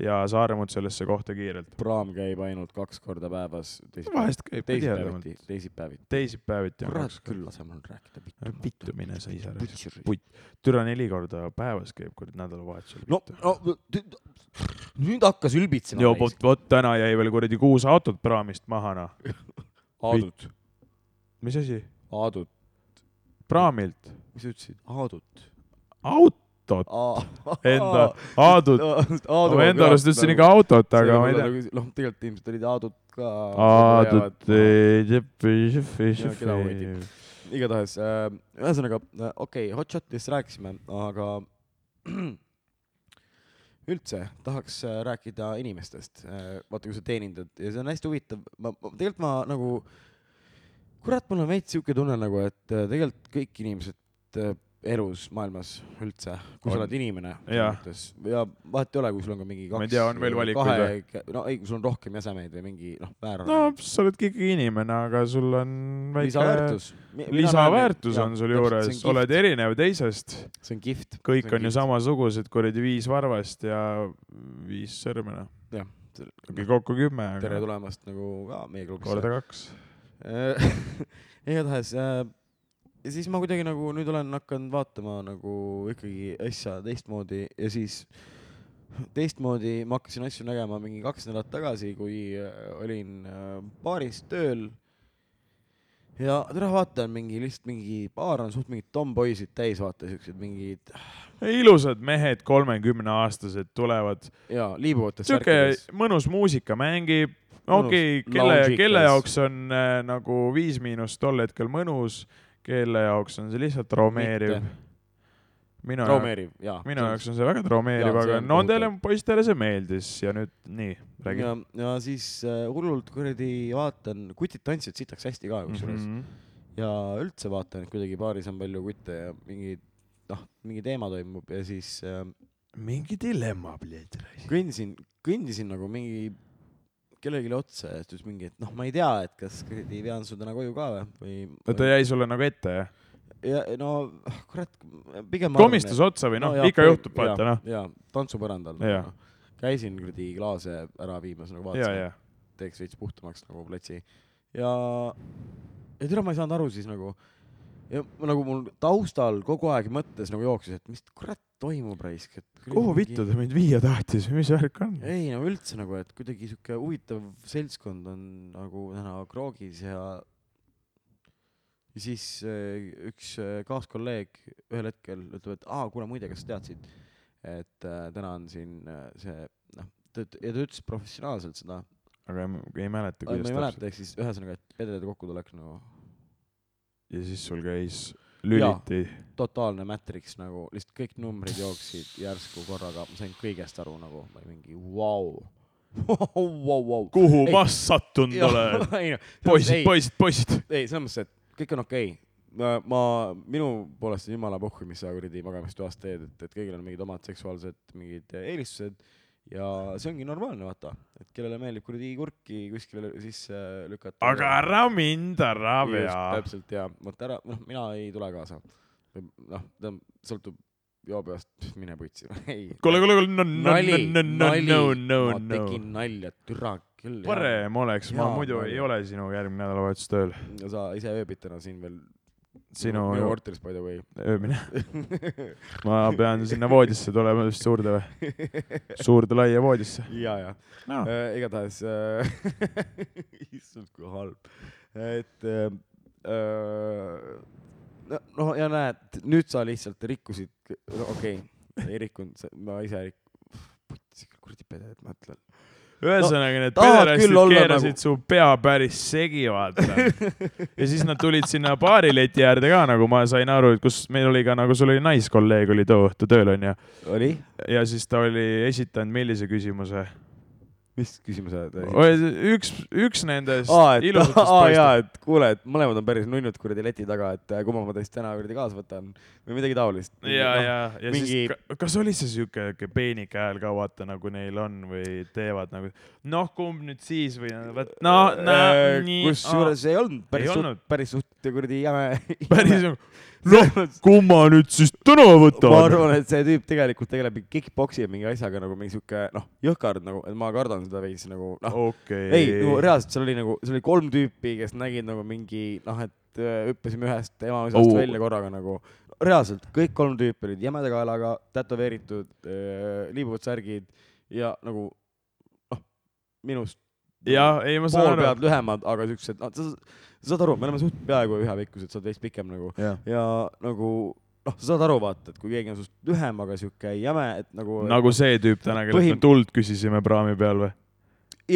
[SPEAKER 2] ja sa armud sellesse kohta kiirelt .
[SPEAKER 1] praam käib ainult kaks korda päevas .
[SPEAKER 2] vahest käib ka tihedamalt .
[SPEAKER 1] teisipäeviti , teisipäeviti .
[SPEAKER 2] teisipäeviti on
[SPEAKER 1] kurat
[SPEAKER 2] kaks
[SPEAKER 1] küll , laseme nüüd rääkida
[SPEAKER 2] No
[SPEAKER 1] vittu .
[SPEAKER 2] vittu , mine sa ise ära .
[SPEAKER 1] vittu
[SPEAKER 2] Put- . türa neli korda päevas käib kuradi nädalavahetusel .
[SPEAKER 1] no , no tü- nüüd hakkas ülbitsema .
[SPEAKER 2] jo vot , vot täna jäi veel kuradi kuus autot praamist maha , noh .
[SPEAKER 1] Aadut ,
[SPEAKER 2] mis asi ?
[SPEAKER 1] Aadut ,
[SPEAKER 2] praamilt ?
[SPEAKER 1] mis sa ütlesid ? Aadut .
[SPEAKER 2] autot enda , Aadut .
[SPEAKER 1] Aadu
[SPEAKER 2] ma enda arust ütlesin ikka autot , aga ma ei tea ..
[SPEAKER 1] noh , tegelikult ilmselt olid Aadut ka .
[SPEAKER 2] Aadut , tšepi , tšepi ,
[SPEAKER 1] Ja keda
[SPEAKER 2] tšepi .
[SPEAKER 1] huvitib. igatahes äh, , ühesõnaga äh, okei okay, , hot shot'ist rääkisime , aga üldse tahaks äh, rääkida inimestest . vaata , kui sa teenindad ja see on hästi huvitav , ma , ma tegelikult ma nagu , kurat , mul on veits siuke tunne nagu , et äh, tegelikult kõik inimesed äh, elus , maailmas üldse , kui
[SPEAKER 2] On.
[SPEAKER 1] sa oled inimene ,
[SPEAKER 2] Jah.
[SPEAKER 1] ja vahet ei ole , kui sul on ka mingi
[SPEAKER 2] Ma
[SPEAKER 1] kaks
[SPEAKER 2] ei tea, on veel valikuid või?
[SPEAKER 1] kahe , no ei , kui sul on rohkem jäsemeid või mingi noh ,
[SPEAKER 2] no
[SPEAKER 1] väärarvamus
[SPEAKER 2] sa oledki ikkagi inimene , aga sul on väike
[SPEAKER 1] lisaväärtus .
[SPEAKER 2] lisaväärtus on sul juures , oled erinev teisest
[SPEAKER 1] see on kihvt .
[SPEAKER 2] kõik on ju . samasugused , kuradi viis varvast ja viis sõrmena .
[SPEAKER 1] Jah.
[SPEAKER 2] okei , kokku kümme ,
[SPEAKER 1] tere
[SPEAKER 2] aga
[SPEAKER 1] tulemast nagu ka meie klubisse .
[SPEAKER 2] korda kaks .
[SPEAKER 1] igatahes äh, ja siis ma kuidagi nagu nüüd olen hakanud vaatama nagu ikkagi asja teistmoodi ja siis teistmoodi ma hakkasin asju nägema mingi kaks nädalat tagasi , kui äh, olin äh, baaris tööl . ja tere , vaatan mingi lihtsalt mingi baar on suht mingid tomboisid täis , vaata siuksed mingid
[SPEAKER 2] ilusad mehed , kolmekümneaastased tulevad ,
[SPEAKER 1] ja liibuvates
[SPEAKER 2] sihuke
[SPEAKER 1] särkides .
[SPEAKER 2] mõnus muusika mängib , okei
[SPEAKER 1] Mõnus
[SPEAKER 2] okay, , kelle ,
[SPEAKER 1] lounge'ikas.
[SPEAKER 2] kelle jaoks on äh, nagu Viis Miinus tol hetkel mõnus , kelle jaoks on see lihtsalt traumeeriv
[SPEAKER 1] Mitte. .
[SPEAKER 2] minu jaoks
[SPEAKER 1] traumeeriv , jaa .
[SPEAKER 2] minu jaoks on see väga traumeeriv ,
[SPEAKER 1] Jaa, see
[SPEAKER 2] aga
[SPEAKER 1] on
[SPEAKER 2] nendele poistele see meeldis ja nüüd nii , räägi
[SPEAKER 1] ja , ja siis äh, hullult kuradi vaatan , kutid tantsivad sitaks hästi ka kusjuures mm
[SPEAKER 2] Mhm.
[SPEAKER 1] -hmm. ja üldse vaatan , et kuidagi baaris on palju kutte ja mingi noh , mingi teema toimub ja siis äh,
[SPEAKER 2] mingi dilemma , pleed .
[SPEAKER 1] kõndisin , kõndisin nagu mingi kellelegi otsa ja siis ta ütles mingi , et noh , ma ei tea , et kas kuradi vean su täna koju ka või , või .
[SPEAKER 2] ta jäi sulle nagu ette , jah ?
[SPEAKER 1] ja no kurat , pigem .
[SPEAKER 2] komistas otsa või noh no, , ikka juhtub , vaata noh .
[SPEAKER 1] jaa , tantsupõrandal nagu.
[SPEAKER 2] Jaa. .
[SPEAKER 1] käisin kuradi klaase ära viimas nagu
[SPEAKER 2] ja ,
[SPEAKER 1] vaatasin ,
[SPEAKER 2] ja ,
[SPEAKER 1] teeks veits puhtamaks nagu platsi ja , ja tead , ma ei saanud aru siis nagu ja ma nagu mul taustal kogu aeg mõttes nagu jooksis , et mis kurat toimub raisk , et
[SPEAKER 2] kuhu vittu ta meid viia tahtis või mis värk on ?
[SPEAKER 1] ei no üldse nagu , et kuidagi sihuke huvitav seltskond on nagu täna kroogis ja ja siis äh, üks äh, kaaskolleeg ühel hetkel ütleb , et aa , kuule muide , kas sa teadsid , et äh, täna on siin äh, see noh , ta üt- ja ta ütles professionaalselt seda
[SPEAKER 2] aga ei, ei mäleta ,
[SPEAKER 1] Ai, ma
[SPEAKER 2] kuidas
[SPEAKER 1] ei
[SPEAKER 2] täpselt .
[SPEAKER 1] mäleta , ehk siis ühesõnaga , et pedede kokkutulek nagu
[SPEAKER 2] ja siis sul käis lüliti .
[SPEAKER 1] totaalne Matrix nagu , lihtsalt kõik numbrid jooksid järsku korraga , ma sain kõigest aru nagu , ma olin mingi vau , vau , vau .
[SPEAKER 2] kuhu
[SPEAKER 1] Ei.
[SPEAKER 2] ma sattunud olen ? poisid ,. poisid , poisid .
[SPEAKER 1] ei , selles mõttes , et kõik on okei okay. . ma , minu poolest on jumala puhku , mis sa kuradi magamistoas teed , et , et kõigil on mingid omad seksuaalsed mingid eelistused ja see ongi normaalne , vaata , et kellele meeldib kuradi kurki kuskile sisse lükata .
[SPEAKER 2] aga ära mind ära vea .
[SPEAKER 1] Just, täpselt ja , vot ära , noh , mina ei tule kaasa . noh , ta sõltub joobeast , mine putsi , ei .
[SPEAKER 2] kuule , kuule , kuule , no , no , no , no , no , no ,
[SPEAKER 1] ma
[SPEAKER 2] no .
[SPEAKER 1] tegin nalja , türa küll .
[SPEAKER 2] parem oleks , ma
[SPEAKER 1] Jaa,
[SPEAKER 2] muidu
[SPEAKER 1] ma-
[SPEAKER 2] ei ole sinu järgmine nädalavahetus tööl .
[SPEAKER 1] sa ise ööbid täna siin veel .
[SPEAKER 2] sinu
[SPEAKER 1] minu korteris by the way .
[SPEAKER 2] öömine . ma pean sinna voodisse tulema , just suurde või ? suurde laia voodisse
[SPEAKER 1] ja , ja
[SPEAKER 2] no. .
[SPEAKER 1] äh, igatahes äh, issand , kui halb , et äh, äh, no- noh , ja näed , nüüd sa lihtsalt rikkusid , no okei okay, , ei rikkunud , ma ise rik- , kuradi pede , et ma ütlen .
[SPEAKER 2] ühesõnaga need
[SPEAKER 1] tahab küll
[SPEAKER 2] pederastid
[SPEAKER 1] olla
[SPEAKER 2] keerasid
[SPEAKER 1] nagu-
[SPEAKER 2] su pea päris segi , vaata . ja siis nad tulid sinna baarileti äärde ka , nagu ma sain aru , et kus meil oli ka nagu sul oli naiskolleeg oli too õhtu tööl onju .
[SPEAKER 1] oli ?
[SPEAKER 2] ja siis ta oli esitanud millise küsimuse ?
[SPEAKER 1] mis küsimus sa oled ?
[SPEAKER 2] üks , üks nendest
[SPEAKER 1] aa , et ,
[SPEAKER 2] ilusatest
[SPEAKER 1] aa jaa
[SPEAKER 2] poistest .,
[SPEAKER 1] et kuule , et mõlemad on päris nunnud kuradi leti taga , et äh, kumma ma teist täna kuradi kaasa võtan või midagi taolist .
[SPEAKER 2] ja , ja ,
[SPEAKER 1] Noh,
[SPEAKER 2] ja mingi...
[SPEAKER 1] mingi-
[SPEAKER 2] siis , kas oli see siuke siuke peenike hääl ka vaata nagu neil on või teevad nagu noh , kumb nüüd siis või vot noh , nii .
[SPEAKER 1] äh, kusjuures ei olnud päris
[SPEAKER 2] Ei
[SPEAKER 1] suht
[SPEAKER 2] olnud. ,
[SPEAKER 1] päris suht kuradi jäme .
[SPEAKER 2] päris noh , kumma nüüd siis täna
[SPEAKER 1] ma
[SPEAKER 2] võtame ?
[SPEAKER 1] arvan , et see tüüp tegelikult tegeleb mingi kick-poksi ja mingi asjaga nagu mingi sihuke noh , jõhkard nagu , et ma kardan seda veits nagu noh okay. ,
[SPEAKER 2] okei .
[SPEAKER 1] ei nagu reaalselt seal oli nagu , seal oli kolm tüüpi , kes nägid nagu mingi noh , et öö, hüppasime ühest emaisast
[SPEAKER 2] Oo.
[SPEAKER 1] oh. välja korraga nagu . reaalselt kõik kolm tüüpi olid jämeda kaelaga , tätoveeritud , liibuvad särgid ja nagu noh , minust
[SPEAKER 2] jah , ei ma saan
[SPEAKER 1] pool
[SPEAKER 2] aru .
[SPEAKER 1] pead lühemad , aga siuksed , noh , sa saad aru , me oleme suht peaaegu ühepikkused , sa oled veits pikem nagu ja nagu noh , sa saad aru , vaata , et kui keegi on sinust lühem , aga sihuke jäme , et nagu,
[SPEAKER 2] nagu see tüüp täna , kellelt
[SPEAKER 1] Põhim-
[SPEAKER 2] me tuld küsisime praami peal või ?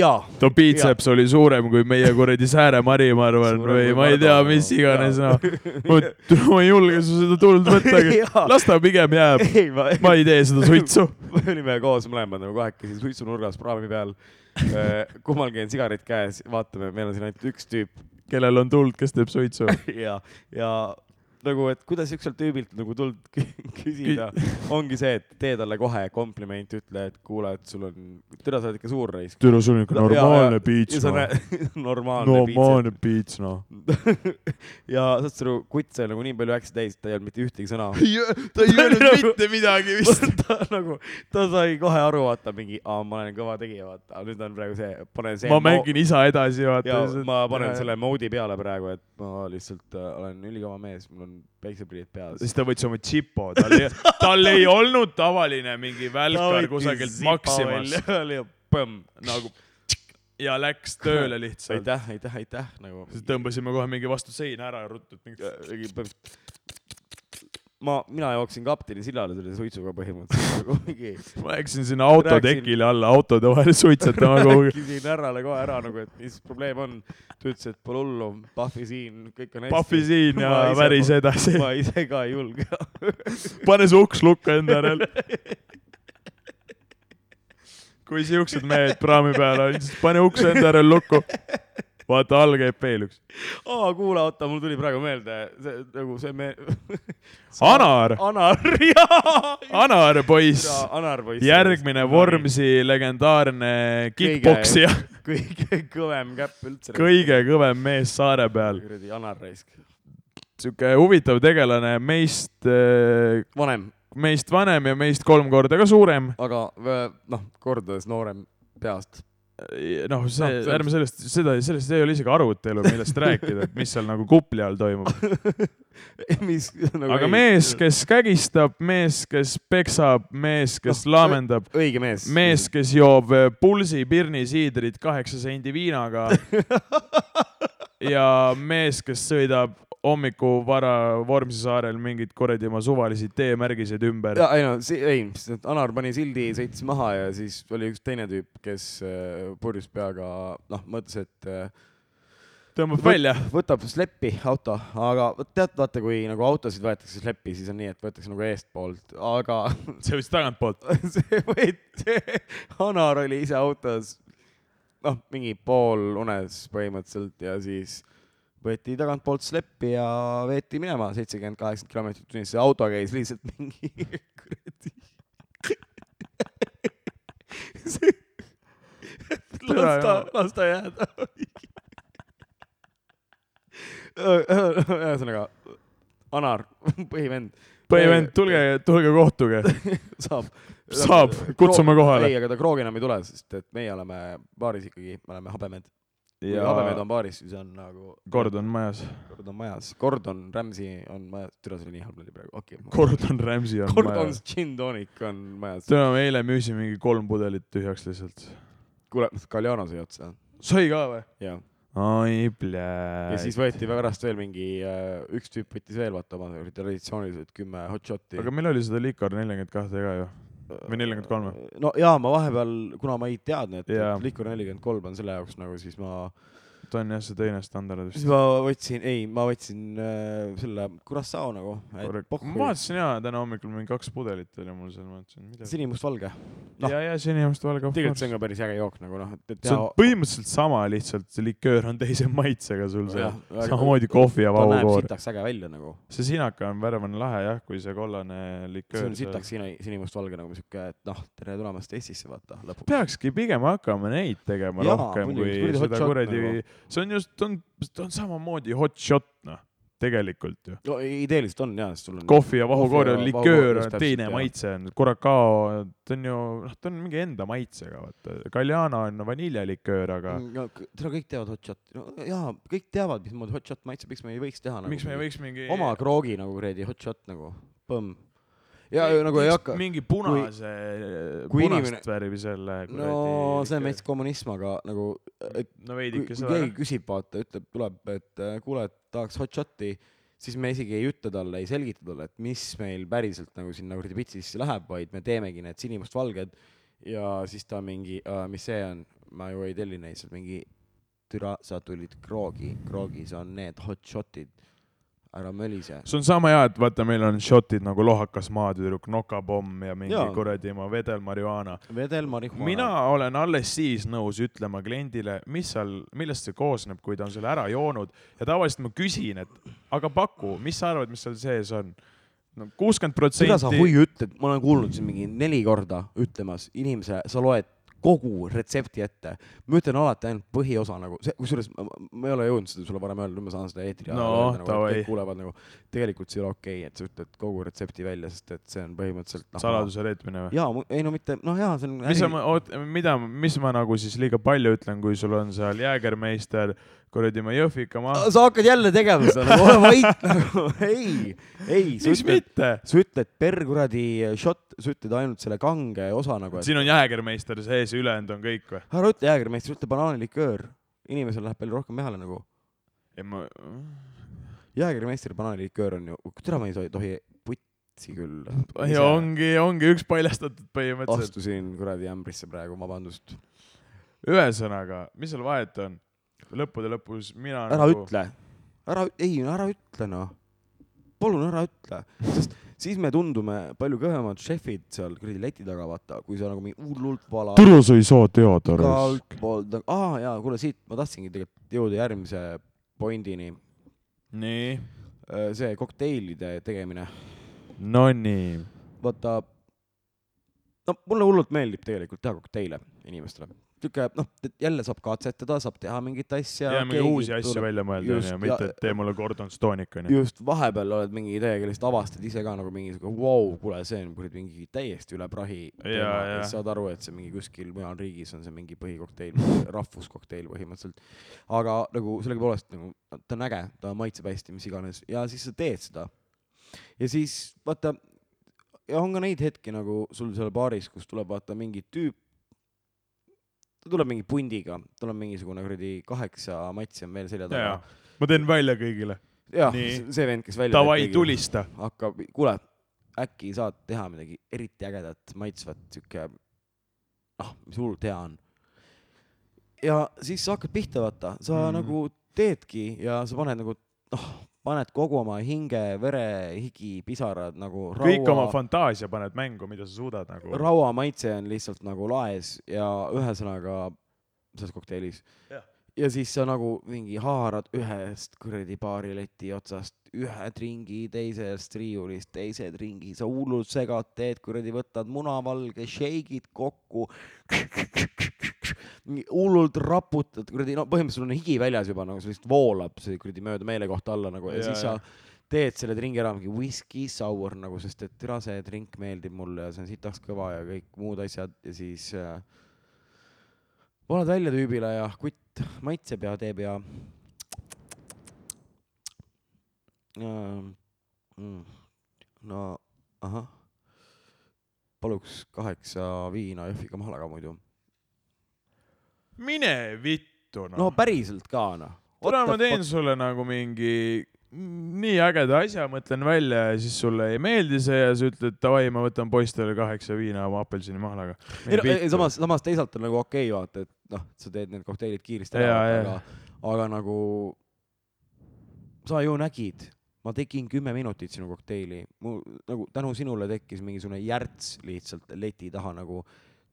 [SPEAKER 1] jaa ,
[SPEAKER 2] ta piitseps oli suurem kui meie kuradi sääremari , ma arvan ,
[SPEAKER 1] Suurem
[SPEAKER 2] või
[SPEAKER 1] kui
[SPEAKER 2] ma ei tea ,
[SPEAKER 1] Mardu,
[SPEAKER 2] mis
[SPEAKER 1] no.
[SPEAKER 2] iganes ,
[SPEAKER 1] Jaa.
[SPEAKER 2] noh . ma ei julge su seda tuld võtta
[SPEAKER 1] Jaa. ,
[SPEAKER 2] las ta pigem jääb .
[SPEAKER 1] ei ma,
[SPEAKER 2] ma ei tee seda suitsu .
[SPEAKER 1] me olime koos mõlemad nagu kahekesi suitsunurgas praami peal . kummalgi on sigaret käes , vaatame , meil on siin ainult üks tüüp
[SPEAKER 2] kellel on tuld , kes teeb suitsu .
[SPEAKER 1] ja , ja nagu , et kuidas siukselt tüübilt nagu tuld kü- küsida , ongi see , et tee talle kohe kompliment , ütle , et kuule , et sul on , türa , sa oled ikka suur raisk .
[SPEAKER 2] türa , sul on ikka normaalne piits , noh .
[SPEAKER 1] noh . normaalne piits .
[SPEAKER 2] normaalne piits , noh .
[SPEAKER 1] ja saad sa aru , kutt sai nagu nii palju äksi täis , ta ei olnud mitte ühtegi sõna .
[SPEAKER 2] ta ei öelnud mitte midagi vist .
[SPEAKER 1] ta nagu , ta sai kohe aru , vaata mingi , aa , ma olen kõva tegija , vaata , nüüd on praegu see , panen see .
[SPEAKER 2] ma mängin isa edasi ,
[SPEAKER 1] ja
[SPEAKER 2] vaata .
[SPEAKER 1] ma panen selle moodi peale praegu , et ma lihtsalt äh, olen ülikõva mees , mul on päikseprillid peas .
[SPEAKER 2] siis ta võttis oma džipo , tal ei , tal ei olnud tavaline mingi välkar kusagilt Maximast
[SPEAKER 1] oli ja põmm .
[SPEAKER 2] nagu ja läks tööle lihtsalt .
[SPEAKER 1] aitäh , aitäh , aitäh nagu .
[SPEAKER 2] siis tõmbasime kohe mingi vastu seina ära ja ruttu , et mingi
[SPEAKER 1] Äh, ma , mina jooksin kapteni sillale selle suitsuga põhimõtteliselt nagu mingi .
[SPEAKER 2] ma läksin sinna autotekile alla autode vahel suitsetama kuhugi .
[SPEAKER 1] küsisin härrale kohe ära nagu , et mis probleem on . ta ütles , et pole hullu , pahvi siin , kõik on hästi .
[SPEAKER 2] Pahvi siin ja
[SPEAKER 1] Ma ise-
[SPEAKER 2] värise edasi .
[SPEAKER 1] ma ise ka ei julge .
[SPEAKER 2] pane see uks lukku enda järel . kui siuksed mehed praami peal on , siis pane uks enda järel lukku . vaata , all käib veel üks .
[SPEAKER 1] aa , kuule , oota , mul tuli praegu meelde see nagu see me- .
[SPEAKER 2] Anar ,
[SPEAKER 1] Anar , jaa .
[SPEAKER 2] Anar poiss ,
[SPEAKER 1] Anar poiss .
[SPEAKER 2] järgmine . Vormsi legendaarne kick-poksija ,
[SPEAKER 1] kõige kõvem käpp üldse .
[SPEAKER 2] kõige kõvem mees saare peal .
[SPEAKER 1] kuradi Anar raisk .
[SPEAKER 2] sihuke huvitav tegelane , meist , eh,
[SPEAKER 1] vanem ,
[SPEAKER 2] meist vanem ja meist kolm korda ka suurem .
[SPEAKER 1] aga vä- noh , kordades noorem peast .
[SPEAKER 2] noh ,
[SPEAKER 1] Noh,
[SPEAKER 2] see no, ,
[SPEAKER 1] see-
[SPEAKER 2] ärme sellest , seda , sellest ei ole isegi arutelu , millest rääkida , et mis seal nagu kupli all toimub .
[SPEAKER 1] mis nagu .
[SPEAKER 2] aga mees , kes kägistab , mees , kes peksab , mees , kes
[SPEAKER 1] Noh,
[SPEAKER 2] laamendab ,
[SPEAKER 1] õige mees .
[SPEAKER 2] mees , kes joob eh, pulsi pirnisiidrit kaheksa sendi viinaga ja mees , kes sõidab hommiku vara Vormsi saarel mingeid kuradi oma suvalisi teemärgiseid ümber .
[SPEAKER 1] ja ei no , ei , Anar pani sildi , sõitis maha ja siis oli üks teine tüüp , kes äh, purjus peaga , noh , mõtles , et äh,
[SPEAKER 2] tõmbab välja .
[SPEAKER 1] võtab sleppi auto , aga vot tead , vaata , kui nagu autosid võetakse sleppi , siis on nii , et võetakse nagu eestpoolt , aga
[SPEAKER 2] see võttis tagantpoolt .
[SPEAKER 1] see võeti , Anar oli ise autos , noh , mingi pool unes põhimõtteliselt ja siis võeti tagantpoolt sleppi ja veeti minema seitsekümmend , kaheksakümmend kilomeetrit tunnis , see auto käis lihtsalt mingi kuradi . see , las ta , las ta jääda . ühesõnaga , Anar , põhivend .
[SPEAKER 2] põhimõtteliselt tulge , tulge kohtuge .
[SPEAKER 1] saab .
[SPEAKER 2] Saab, kutsume kohale.
[SPEAKER 1] ei , aga ta Kroog enam ei tule , sest et meie oleme baaris ikkagi , me oleme habemed . kui habemed on baaris , siis on nagu .
[SPEAKER 2] kord on majas .
[SPEAKER 1] kord on majas , kord on Rämsi on majas , türa see oli nii halb nali praegu , okei okay, .
[SPEAKER 2] kord on Rämsi on
[SPEAKER 1] kord on
[SPEAKER 2] majas .
[SPEAKER 1] gin tonic on majas .
[SPEAKER 2] täna me eile müüsime mingi kolm pudelit tühjaks lihtsalt .
[SPEAKER 1] kuule , Galliano sai otsa .
[SPEAKER 2] sai ka või ?
[SPEAKER 1] ja ,
[SPEAKER 2] ai ,
[SPEAKER 1] ja siis
[SPEAKER 2] pljää .
[SPEAKER 1] võeti pärast veel mingi , üks tüüp võttis veel vaata oma traditsiooniliselt kümme hot shot'i .
[SPEAKER 2] aga meil oli seda likor nelikümmend kahte ka ju . või nelikümmend kolm või ?
[SPEAKER 1] no jaa , ma vahepeal , kuna ma ei teadnud , et,
[SPEAKER 2] Jaa.
[SPEAKER 1] et Likur nelikümmend kolm on selle jaoks nagu , siis ma ,
[SPEAKER 2] ta on jah see teine standard
[SPEAKER 1] siis
[SPEAKER 2] vist .
[SPEAKER 1] ma võtsin , ei , ma võtsin äh, selle Curaçao nagu .
[SPEAKER 2] ma vaatasin jaa , täna hommikul mingi kaks pudelit oli mul seal , ma mõtlesin , mida .
[SPEAKER 1] sinimustvalge . noh.
[SPEAKER 2] ja , ja sinimust valge .
[SPEAKER 1] tegelikult see on ka päris äge jook nagu noh , et , et
[SPEAKER 2] see on
[SPEAKER 1] teha ,
[SPEAKER 2] põhimõtteliselt sama , lihtsalt see liköör on teise maitsega sul seal
[SPEAKER 1] Jah, . väga-
[SPEAKER 2] samamoodi kohvi ja
[SPEAKER 1] ta näeb
[SPEAKER 2] vahukoor .
[SPEAKER 1] sitaks äge välja nagu .
[SPEAKER 2] see sinaka on värv on lahe jah , kui see kollane
[SPEAKER 1] see
[SPEAKER 2] liköör .
[SPEAKER 1] on sitaks sini- , sinimustvalge nagu siuke , et noh , tere tulemast Eestisse , vaata lõpuks .
[SPEAKER 2] peakski pigem hakkama neid tegema
[SPEAKER 1] Jaa,
[SPEAKER 2] Jaa, rohkem
[SPEAKER 1] muidugi, kuradi hot
[SPEAKER 2] kui seda
[SPEAKER 1] shot
[SPEAKER 2] kuradi
[SPEAKER 1] nagu. ,
[SPEAKER 2] see on just , on , ta on samamoodi hot shot noh , tegelikult ju .
[SPEAKER 1] no ideeliselt on jaa , sest sul on .
[SPEAKER 2] kohvi ja vahukoor
[SPEAKER 1] Kohvi ja
[SPEAKER 2] ja
[SPEAKER 1] vahukoor,
[SPEAKER 2] liköör
[SPEAKER 1] just
[SPEAKER 2] on
[SPEAKER 1] täpselt,
[SPEAKER 2] teine
[SPEAKER 1] jah.
[SPEAKER 2] maitse on , Curacao , ta on ju , noh , ta on mingi enda maitsega , vaata . Galjana on vaniljeliköör , aga mm,
[SPEAKER 1] no k- tere , kõik teavad hot shot'i no, . jaa , kõik teavad , mismoodi hot shot maitseb , miks me ei võiks teha nagu .
[SPEAKER 2] miks me ei võiks mingi
[SPEAKER 1] oma kroogi nagu kuradi hot shot nagu , põmm . ja ju nagu ei
[SPEAKER 2] miks
[SPEAKER 1] hakka .
[SPEAKER 2] mingi punase ,
[SPEAKER 1] kui
[SPEAKER 2] punast
[SPEAKER 1] inimene-
[SPEAKER 2] värvi selle
[SPEAKER 1] no see on veits kommunism , aga nagu , et
[SPEAKER 2] no
[SPEAKER 1] kui,
[SPEAKER 2] veidike
[SPEAKER 1] kui
[SPEAKER 2] seda
[SPEAKER 1] keegi küsib , vaata , ütleb , tuleb , et äh, kuule , et tahaks hot shot'i , siis me isegi ei ütle talle , ei selgita talle , et mis meil päriselt nagu sinna kuradi pitsis läheb , vaid me teemegi need sinimustvalged ja siis ta mingi , mis see on , ma ju ei telli neid , seal mingi türa , sa tulid kroogi , kroogis on need hot shot'id , ära mölise .
[SPEAKER 2] see on sama hea , et vaata , meil on šotid nagu lohakas maatüdruk , nokapomm ja mingi
[SPEAKER 1] Jaa.
[SPEAKER 2] kuradi oma vedel marihuana .
[SPEAKER 1] vedel marihuana .
[SPEAKER 2] mina olen alles siis nõus ütlema kliendile , mis seal , millest see koosneb , kui ta on selle ära joonud ja tavaliselt ma küsin , et aga paku , mis sa arvad , mis seal sees on no, ? kuuskümmend
[SPEAKER 1] seda sa
[SPEAKER 2] protsenti .
[SPEAKER 1] huvi ütled , ma olen kuulnud siin mingi neli korda ütlemas inimese , sa loed kogu retsepti ette . ma ütlen alati ainult põhiosa nagu , kusjuures ma, ma- ma ei ole jõudnud seda sulle varem öelda , nüüd ma saan seda eetri
[SPEAKER 2] No,
[SPEAKER 1] öelda nagu, et
[SPEAKER 2] davai.
[SPEAKER 1] kõik kuulevad nagu , tegelikult see ei ole okei okay, , et sa ütled kogu retsepti välja , sest et see on põhimõtteliselt noh,
[SPEAKER 2] saladuse reetmine või ?
[SPEAKER 1] jaa , ei no mitte , noh jaa , see on
[SPEAKER 2] mis sa , oot , mida , mis ma nagu siis liiga palju ütlen , kui sul on seal jäägermeister , kuradi ma jõhvika maa .
[SPEAKER 1] sa hakkad jälle tegema seda nagu , ole vait nagu , ei , ei , sa
[SPEAKER 2] miks
[SPEAKER 1] ütled ,
[SPEAKER 2] mitte ?
[SPEAKER 1] sa ütled per kuradi shot , sa ütled ainult selle kange osa nagu , et
[SPEAKER 2] siin on jäägermeister sees ja ülejäänud on kõik või ?
[SPEAKER 1] ära ütle jäägrimeister , ütle banaaniliköör . inimesel läheb palju rohkem mehele nagu .
[SPEAKER 2] ei ma ,
[SPEAKER 1] jäägrimeister , banaaniliköör on ju , täna ma ei tohi, tohi putsi küll .
[SPEAKER 2] ei ongi , ongi üks paljastatud põhimõtteliselt .
[SPEAKER 1] astusin kuradi ämbrisse praegu , vabandust .
[SPEAKER 2] ühesõnaga , mis seal vahet on ? lõppude lõpus mina
[SPEAKER 1] ära nagu... . ütle , ära , ei , ära ütle noh . palun ära ütle , sest siis me tundume palju kõvemad šefid seal kuradi leti taga , vaata , kui sa nagu mingi hullult vala .
[SPEAKER 2] Turus ei saa teada .
[SPEAKER 1] igalt poolt taga , aa jaa , kuule siit ma tahtsingi tegelikult jõuda järgmise pointini .
[SPEAKER 2] nii ,
[SPEAKER 1] see kokteilide tegemine
[SPEAKER 2] no nii .
[SPEAKER 1] vaata , no mulle hullult meeldib tegelikult teha kokteile inimestele . sihuke , noh , jälle saab katsetada , saab teha mingit asja .
[SPEAKER 2] ja mingi uusi asju välja mõelda ,
[SPEAKER 1] just,
[SPEAKER 2] onju , mitte et tee mulle Gordon Stonic , onju .
[SPEAKER 1] just vahepeal oled mingi täiega lihtsalt avastad ise ka nagu mingi sihuke vau , kuule , see on kuradi mingi täiesti üle prahi
[SPEAKER 2] Jaa, jaa.
[SPEAKER 1] siis saad aru , et see mingi kuskil mujal riigis on see mingi põhikokteil , rahvuskokteil põhimõtteliselt . aga nagu sellegipoolest nagu ta on äge , ta maitseb hästi , mis iganes ja siis sa teed seda . ja siis vaata , ja on ka neid hetki nagu sul seal baaris , kus tuleb vaata mingi tüüp , ta tuleb mingi pundiga , tal on mingisugune kuradi kaheksa matsi on veel selja
[SPEAKER 2] ja , ja
[SPEAKER 1] taga .
[SPEAKER 2] ma teen välja kõigile .
[SPEAKER 1] jah ,
[SPEAKER 2] Nii.
[SPEAKER 1] see vend , kes välja .
[SPEAKER 2] Davai , tulista .
[SPEAKER 1] hakkab , kuule , äkki saad teha midagi eriti ägedat , maitsvat , sihuke noh , mis hullult hea on . ja siis sa hakkad pihta , vaata , sa mm.
[SPEAKER 2] Mhm.
[SPEAKER 1] nagu teedki ja sa paned nagu noh , paned kogu oma hinge , vere , higi , pisarad nagu
[SPEAKER 2] kõik oma
[SPEAKER 1] raua ,
[SPEAKER 2] fantaasia paned mängu , mida sa suudad nagu .
[SPEAKER 1] raua maitse on lihtsalt nagu laes ja ühesõnaga selles kokteilis
[SPEAKER 2] Jah. .
[SPEAKER 1] ja siis sa nagu mingi haarad ühest kuradi baarileti otsast ühed ringi teisest riiulist , teised ringi , sa hullult segad , teed kuradi , võtad munavalge , šeigid kokku . hullult raputad kuradi , no põhimõtteliselt sul on higi väljas juba nagu sellist voolab see kuradi mööda meelekohta alla nagu ja, ja
[SPEAKER 2] Jaa,
[SPEAKER 1] siis sa
[SPEAKER 2] jaa.
[SPEAKER 1] teed selle dringi ära , mingi whisky sour nagu , sest et türa see drink meeldib mulle ja see on sitaks kõva ja kõik muud asjad ja siis äh, valad välja tüübile ja kutt maitseb ja teeb ja . mm, no ahah , paluks kaheksa viina Jõhviga mahlaga muidu .
[SPEAKER 2] mine vittu ,
[SPEAKER 1] no
[SPEAKER 2] noh .
[SPEAKER 1] päriselt ka noh .
[SPEAKER 2] täna ma teen sulle nagu mingi nii ägeda asja mõtlen välja ja siis sulle ei meeldi see ja sa ütled davai , ma võtan poistele kaheksa viina oma apelsinimahlaga .
[SPEAKER 1] ei no ei, samas , samas teisalt on nagu okei okay, , vaata , et noh , sa teed need kokteilid kiiresti ära
[SPEAKER 2] Jaa, , jaa.
[SPEAKER 1] aga , aga nagu sa ju nägid , ma tegin kümme minutit sinu kokteili , mu nagu tänu sinule tekkis mingisugune järts lihtsalt leti taha nagu ,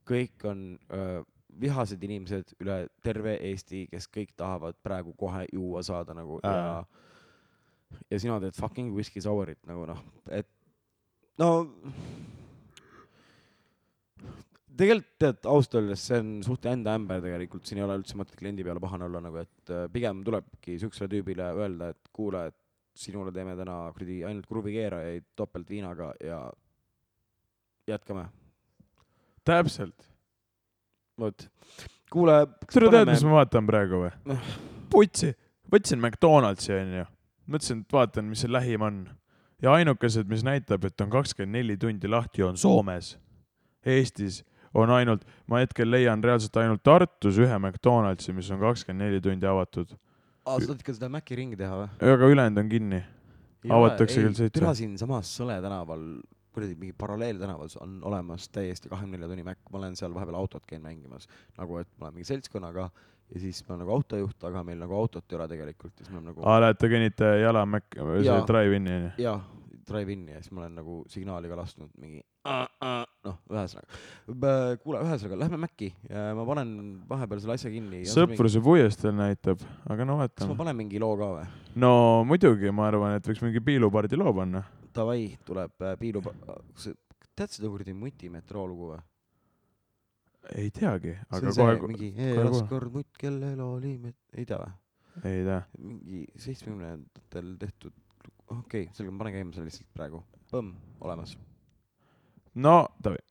[SPEAKER 1] kõik on öö, vihased inimesed üle terve Eesti , kes kõik tahavad praegu kohe juua saada nagu ja
[SPEAKER 2] Aa.
[SPEAKER 1] ja sina teed fucking whisky sour'it nagu noh , et no tegelikult tead , ausalt öeldes see on suht enda ämber tegelikult , siin ei ole üldse mõtet kliendi peale pahane olla nagu , et äh, pigem tulebki siuksele tüübile öelda , et kuule , et sinule teeme täna kuradi ainult kruvikeerajaid topeltviinaga ja jätkame .
[SPEAKER 2] täpselt .
[SPEAKER 1] vot , kuule ,
[SPEAKER 2] kas sa tead , mis ma vaatan praegu või
[SPEAKER 1] Noh. ?
[SPEAKER 2] putsi , võtsin McDonaldsi onju , mõtlesin , et vaatan , mis see lähim on ja ainukesed , mis näitab , et on kakskümmend neli tundi lahti , on Soomes . Eestis on ainult , ma hetkel leian reaalselt ainult Tartus ühe McDonaldsi , mis on kakskümmend neli tundi avatud ,
[SPEAKER 1] aa , sa tahad ikka seda Maci ringi teha või ?
[SPEAKER 2] aga ülejäänud on kinni . Avatakse küll seitse.
[SPEAKER 1] türa siinsamas Sõle tänaval , kuradi mingi paralleeltänavas on olemas täiesti kahekümne nelja tunni Mac , ma olen seal vahepeal autot käin mängimas , nagu et ma olen mingi seltskonnaga ja siis ma olen nagu autojuht , aga meil nagu autot ei ole tegelikult ja siis me oleme nagu
[SPEAKER 2] aa , lähete kõnnite jala Mac , see
[SPEAKER 1] Jaa.
[SPEAKER 2] Drive-in'i onju .
[SPEAKER 1] jaa , drive-in'i ja siis ma olen nagu signaali ka lasknud mingi noh , ühesõnaga . kuule , ühesõnaga , lähme Maci , ma panen vahepeal selle asja kinni .
[SPEAKER 2] sõpruse puiesteel näitab , aga no
[SPEAKER 1] kas ma
[SPEAKER 2] vaatame .
[SPEAKER 1] panen mingi loo ka või ?
[SPEAKER 2] no muidugi , ma arvan , et võiks mingi piilupardi loo panna .
[SPEAKER 1] Davai , tuleb äh, piilu , kas sa tead seda kuradi Muti metroo lugu või ?
[SPEAKER 2] ei teagi ,
[SPEAKER 1] see
[SPEAKER 2] aga
[SPEAKER 1] on see
[SPEAKER 2] kohe ,
[SPEAKER 1] mingi
[SPEAKER 2] kohe-
[SPEAKER 1] elas kord mutt , kellel oli , ei tea või ?
[SPEAKER 2] ei tea .
[SPEAKER 1] mingi seitsmekümnendatel tehtud , okei okay, , selge , ma panen käima selle lihtsalt praegu . Põmm , olemas .
[SPEAKER 2] no davai .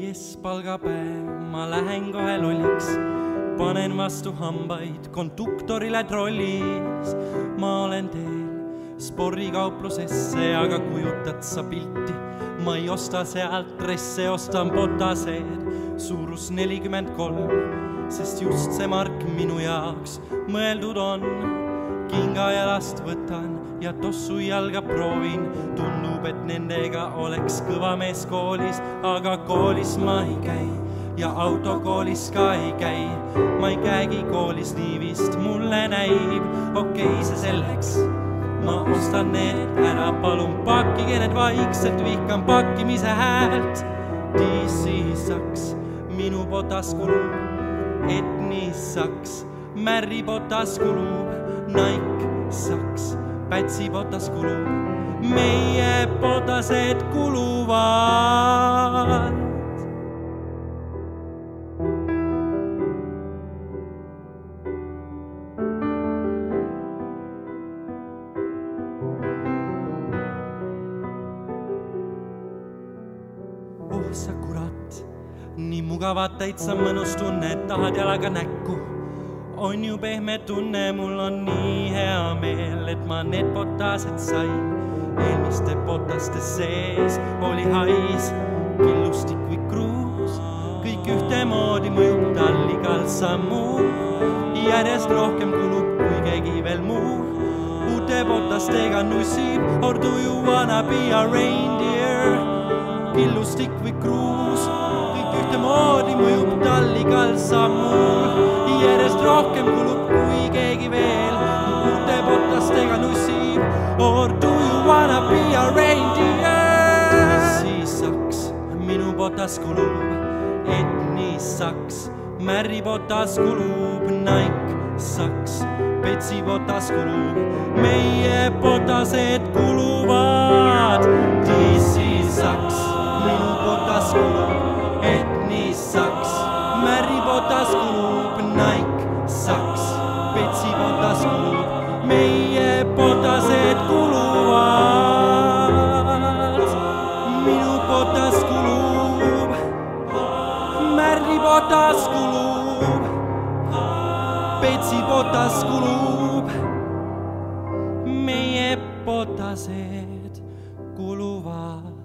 [SPEAKER 5] jess , palgapäev , ma lähen kohe lolliks , panen vastu hambaid konduktorile trollis . ma olen teel spordikauplusesse , aga kujutad sa pilti , ma ei osta sealt dresse , ostan botaseid , suurus nelikümmend kolm , sest just see mark minu jaoks mõeldud on . kinga jalast võtan ja tossu jalga proovin , tundub , et nendega oleks kõva mees koolis , aga koolis ma ei käi ja autokoolis ka ei käi . ma ei käigi koolis nii vist , mulle näib , okei okay, , see selleks . ma ostan need ära , palun pakkige need vaikselt , vihkan pakkimise häält . DC-saks minu botas kulub et nii saks , Märri botas kulub , Nike saks , Pätsi botas kulub , meie botased kuluvad . oh sa kurat , nii mugavat täitsa mõnus tunne , tahad jalaga näkku . on ju pehme tunne , mul on nii hea meel , et ma need botased sain . eelmiste botaste sees oli hais , killustik või kruus , kõik ühtemoodi mõjub tal igal sammul . järjest rohkem kulub , kui keegi veel muu uute botastega nussib , or do you wanna be a reindeer ? killustik või kruus , kõik ühtemoodi mõjub tal igal sammul . järjest rohkem kulub , kui keegi veel uute botastega nussib . Or do you wanna be a reindeer ? siis saks minu botas kulub , et nii saks . Märri botas kulub , Nike saks , Betsi botas kulub , meie botased kuluvad . DC saks , minu botas kulub , et nii saks , Märri botas kulub , Nike saks , Betsi botas kulub , meie botased kuluvad . minu botas kulub , Märri botas kulub , Betsi botas kulub , meie potased kuluvad .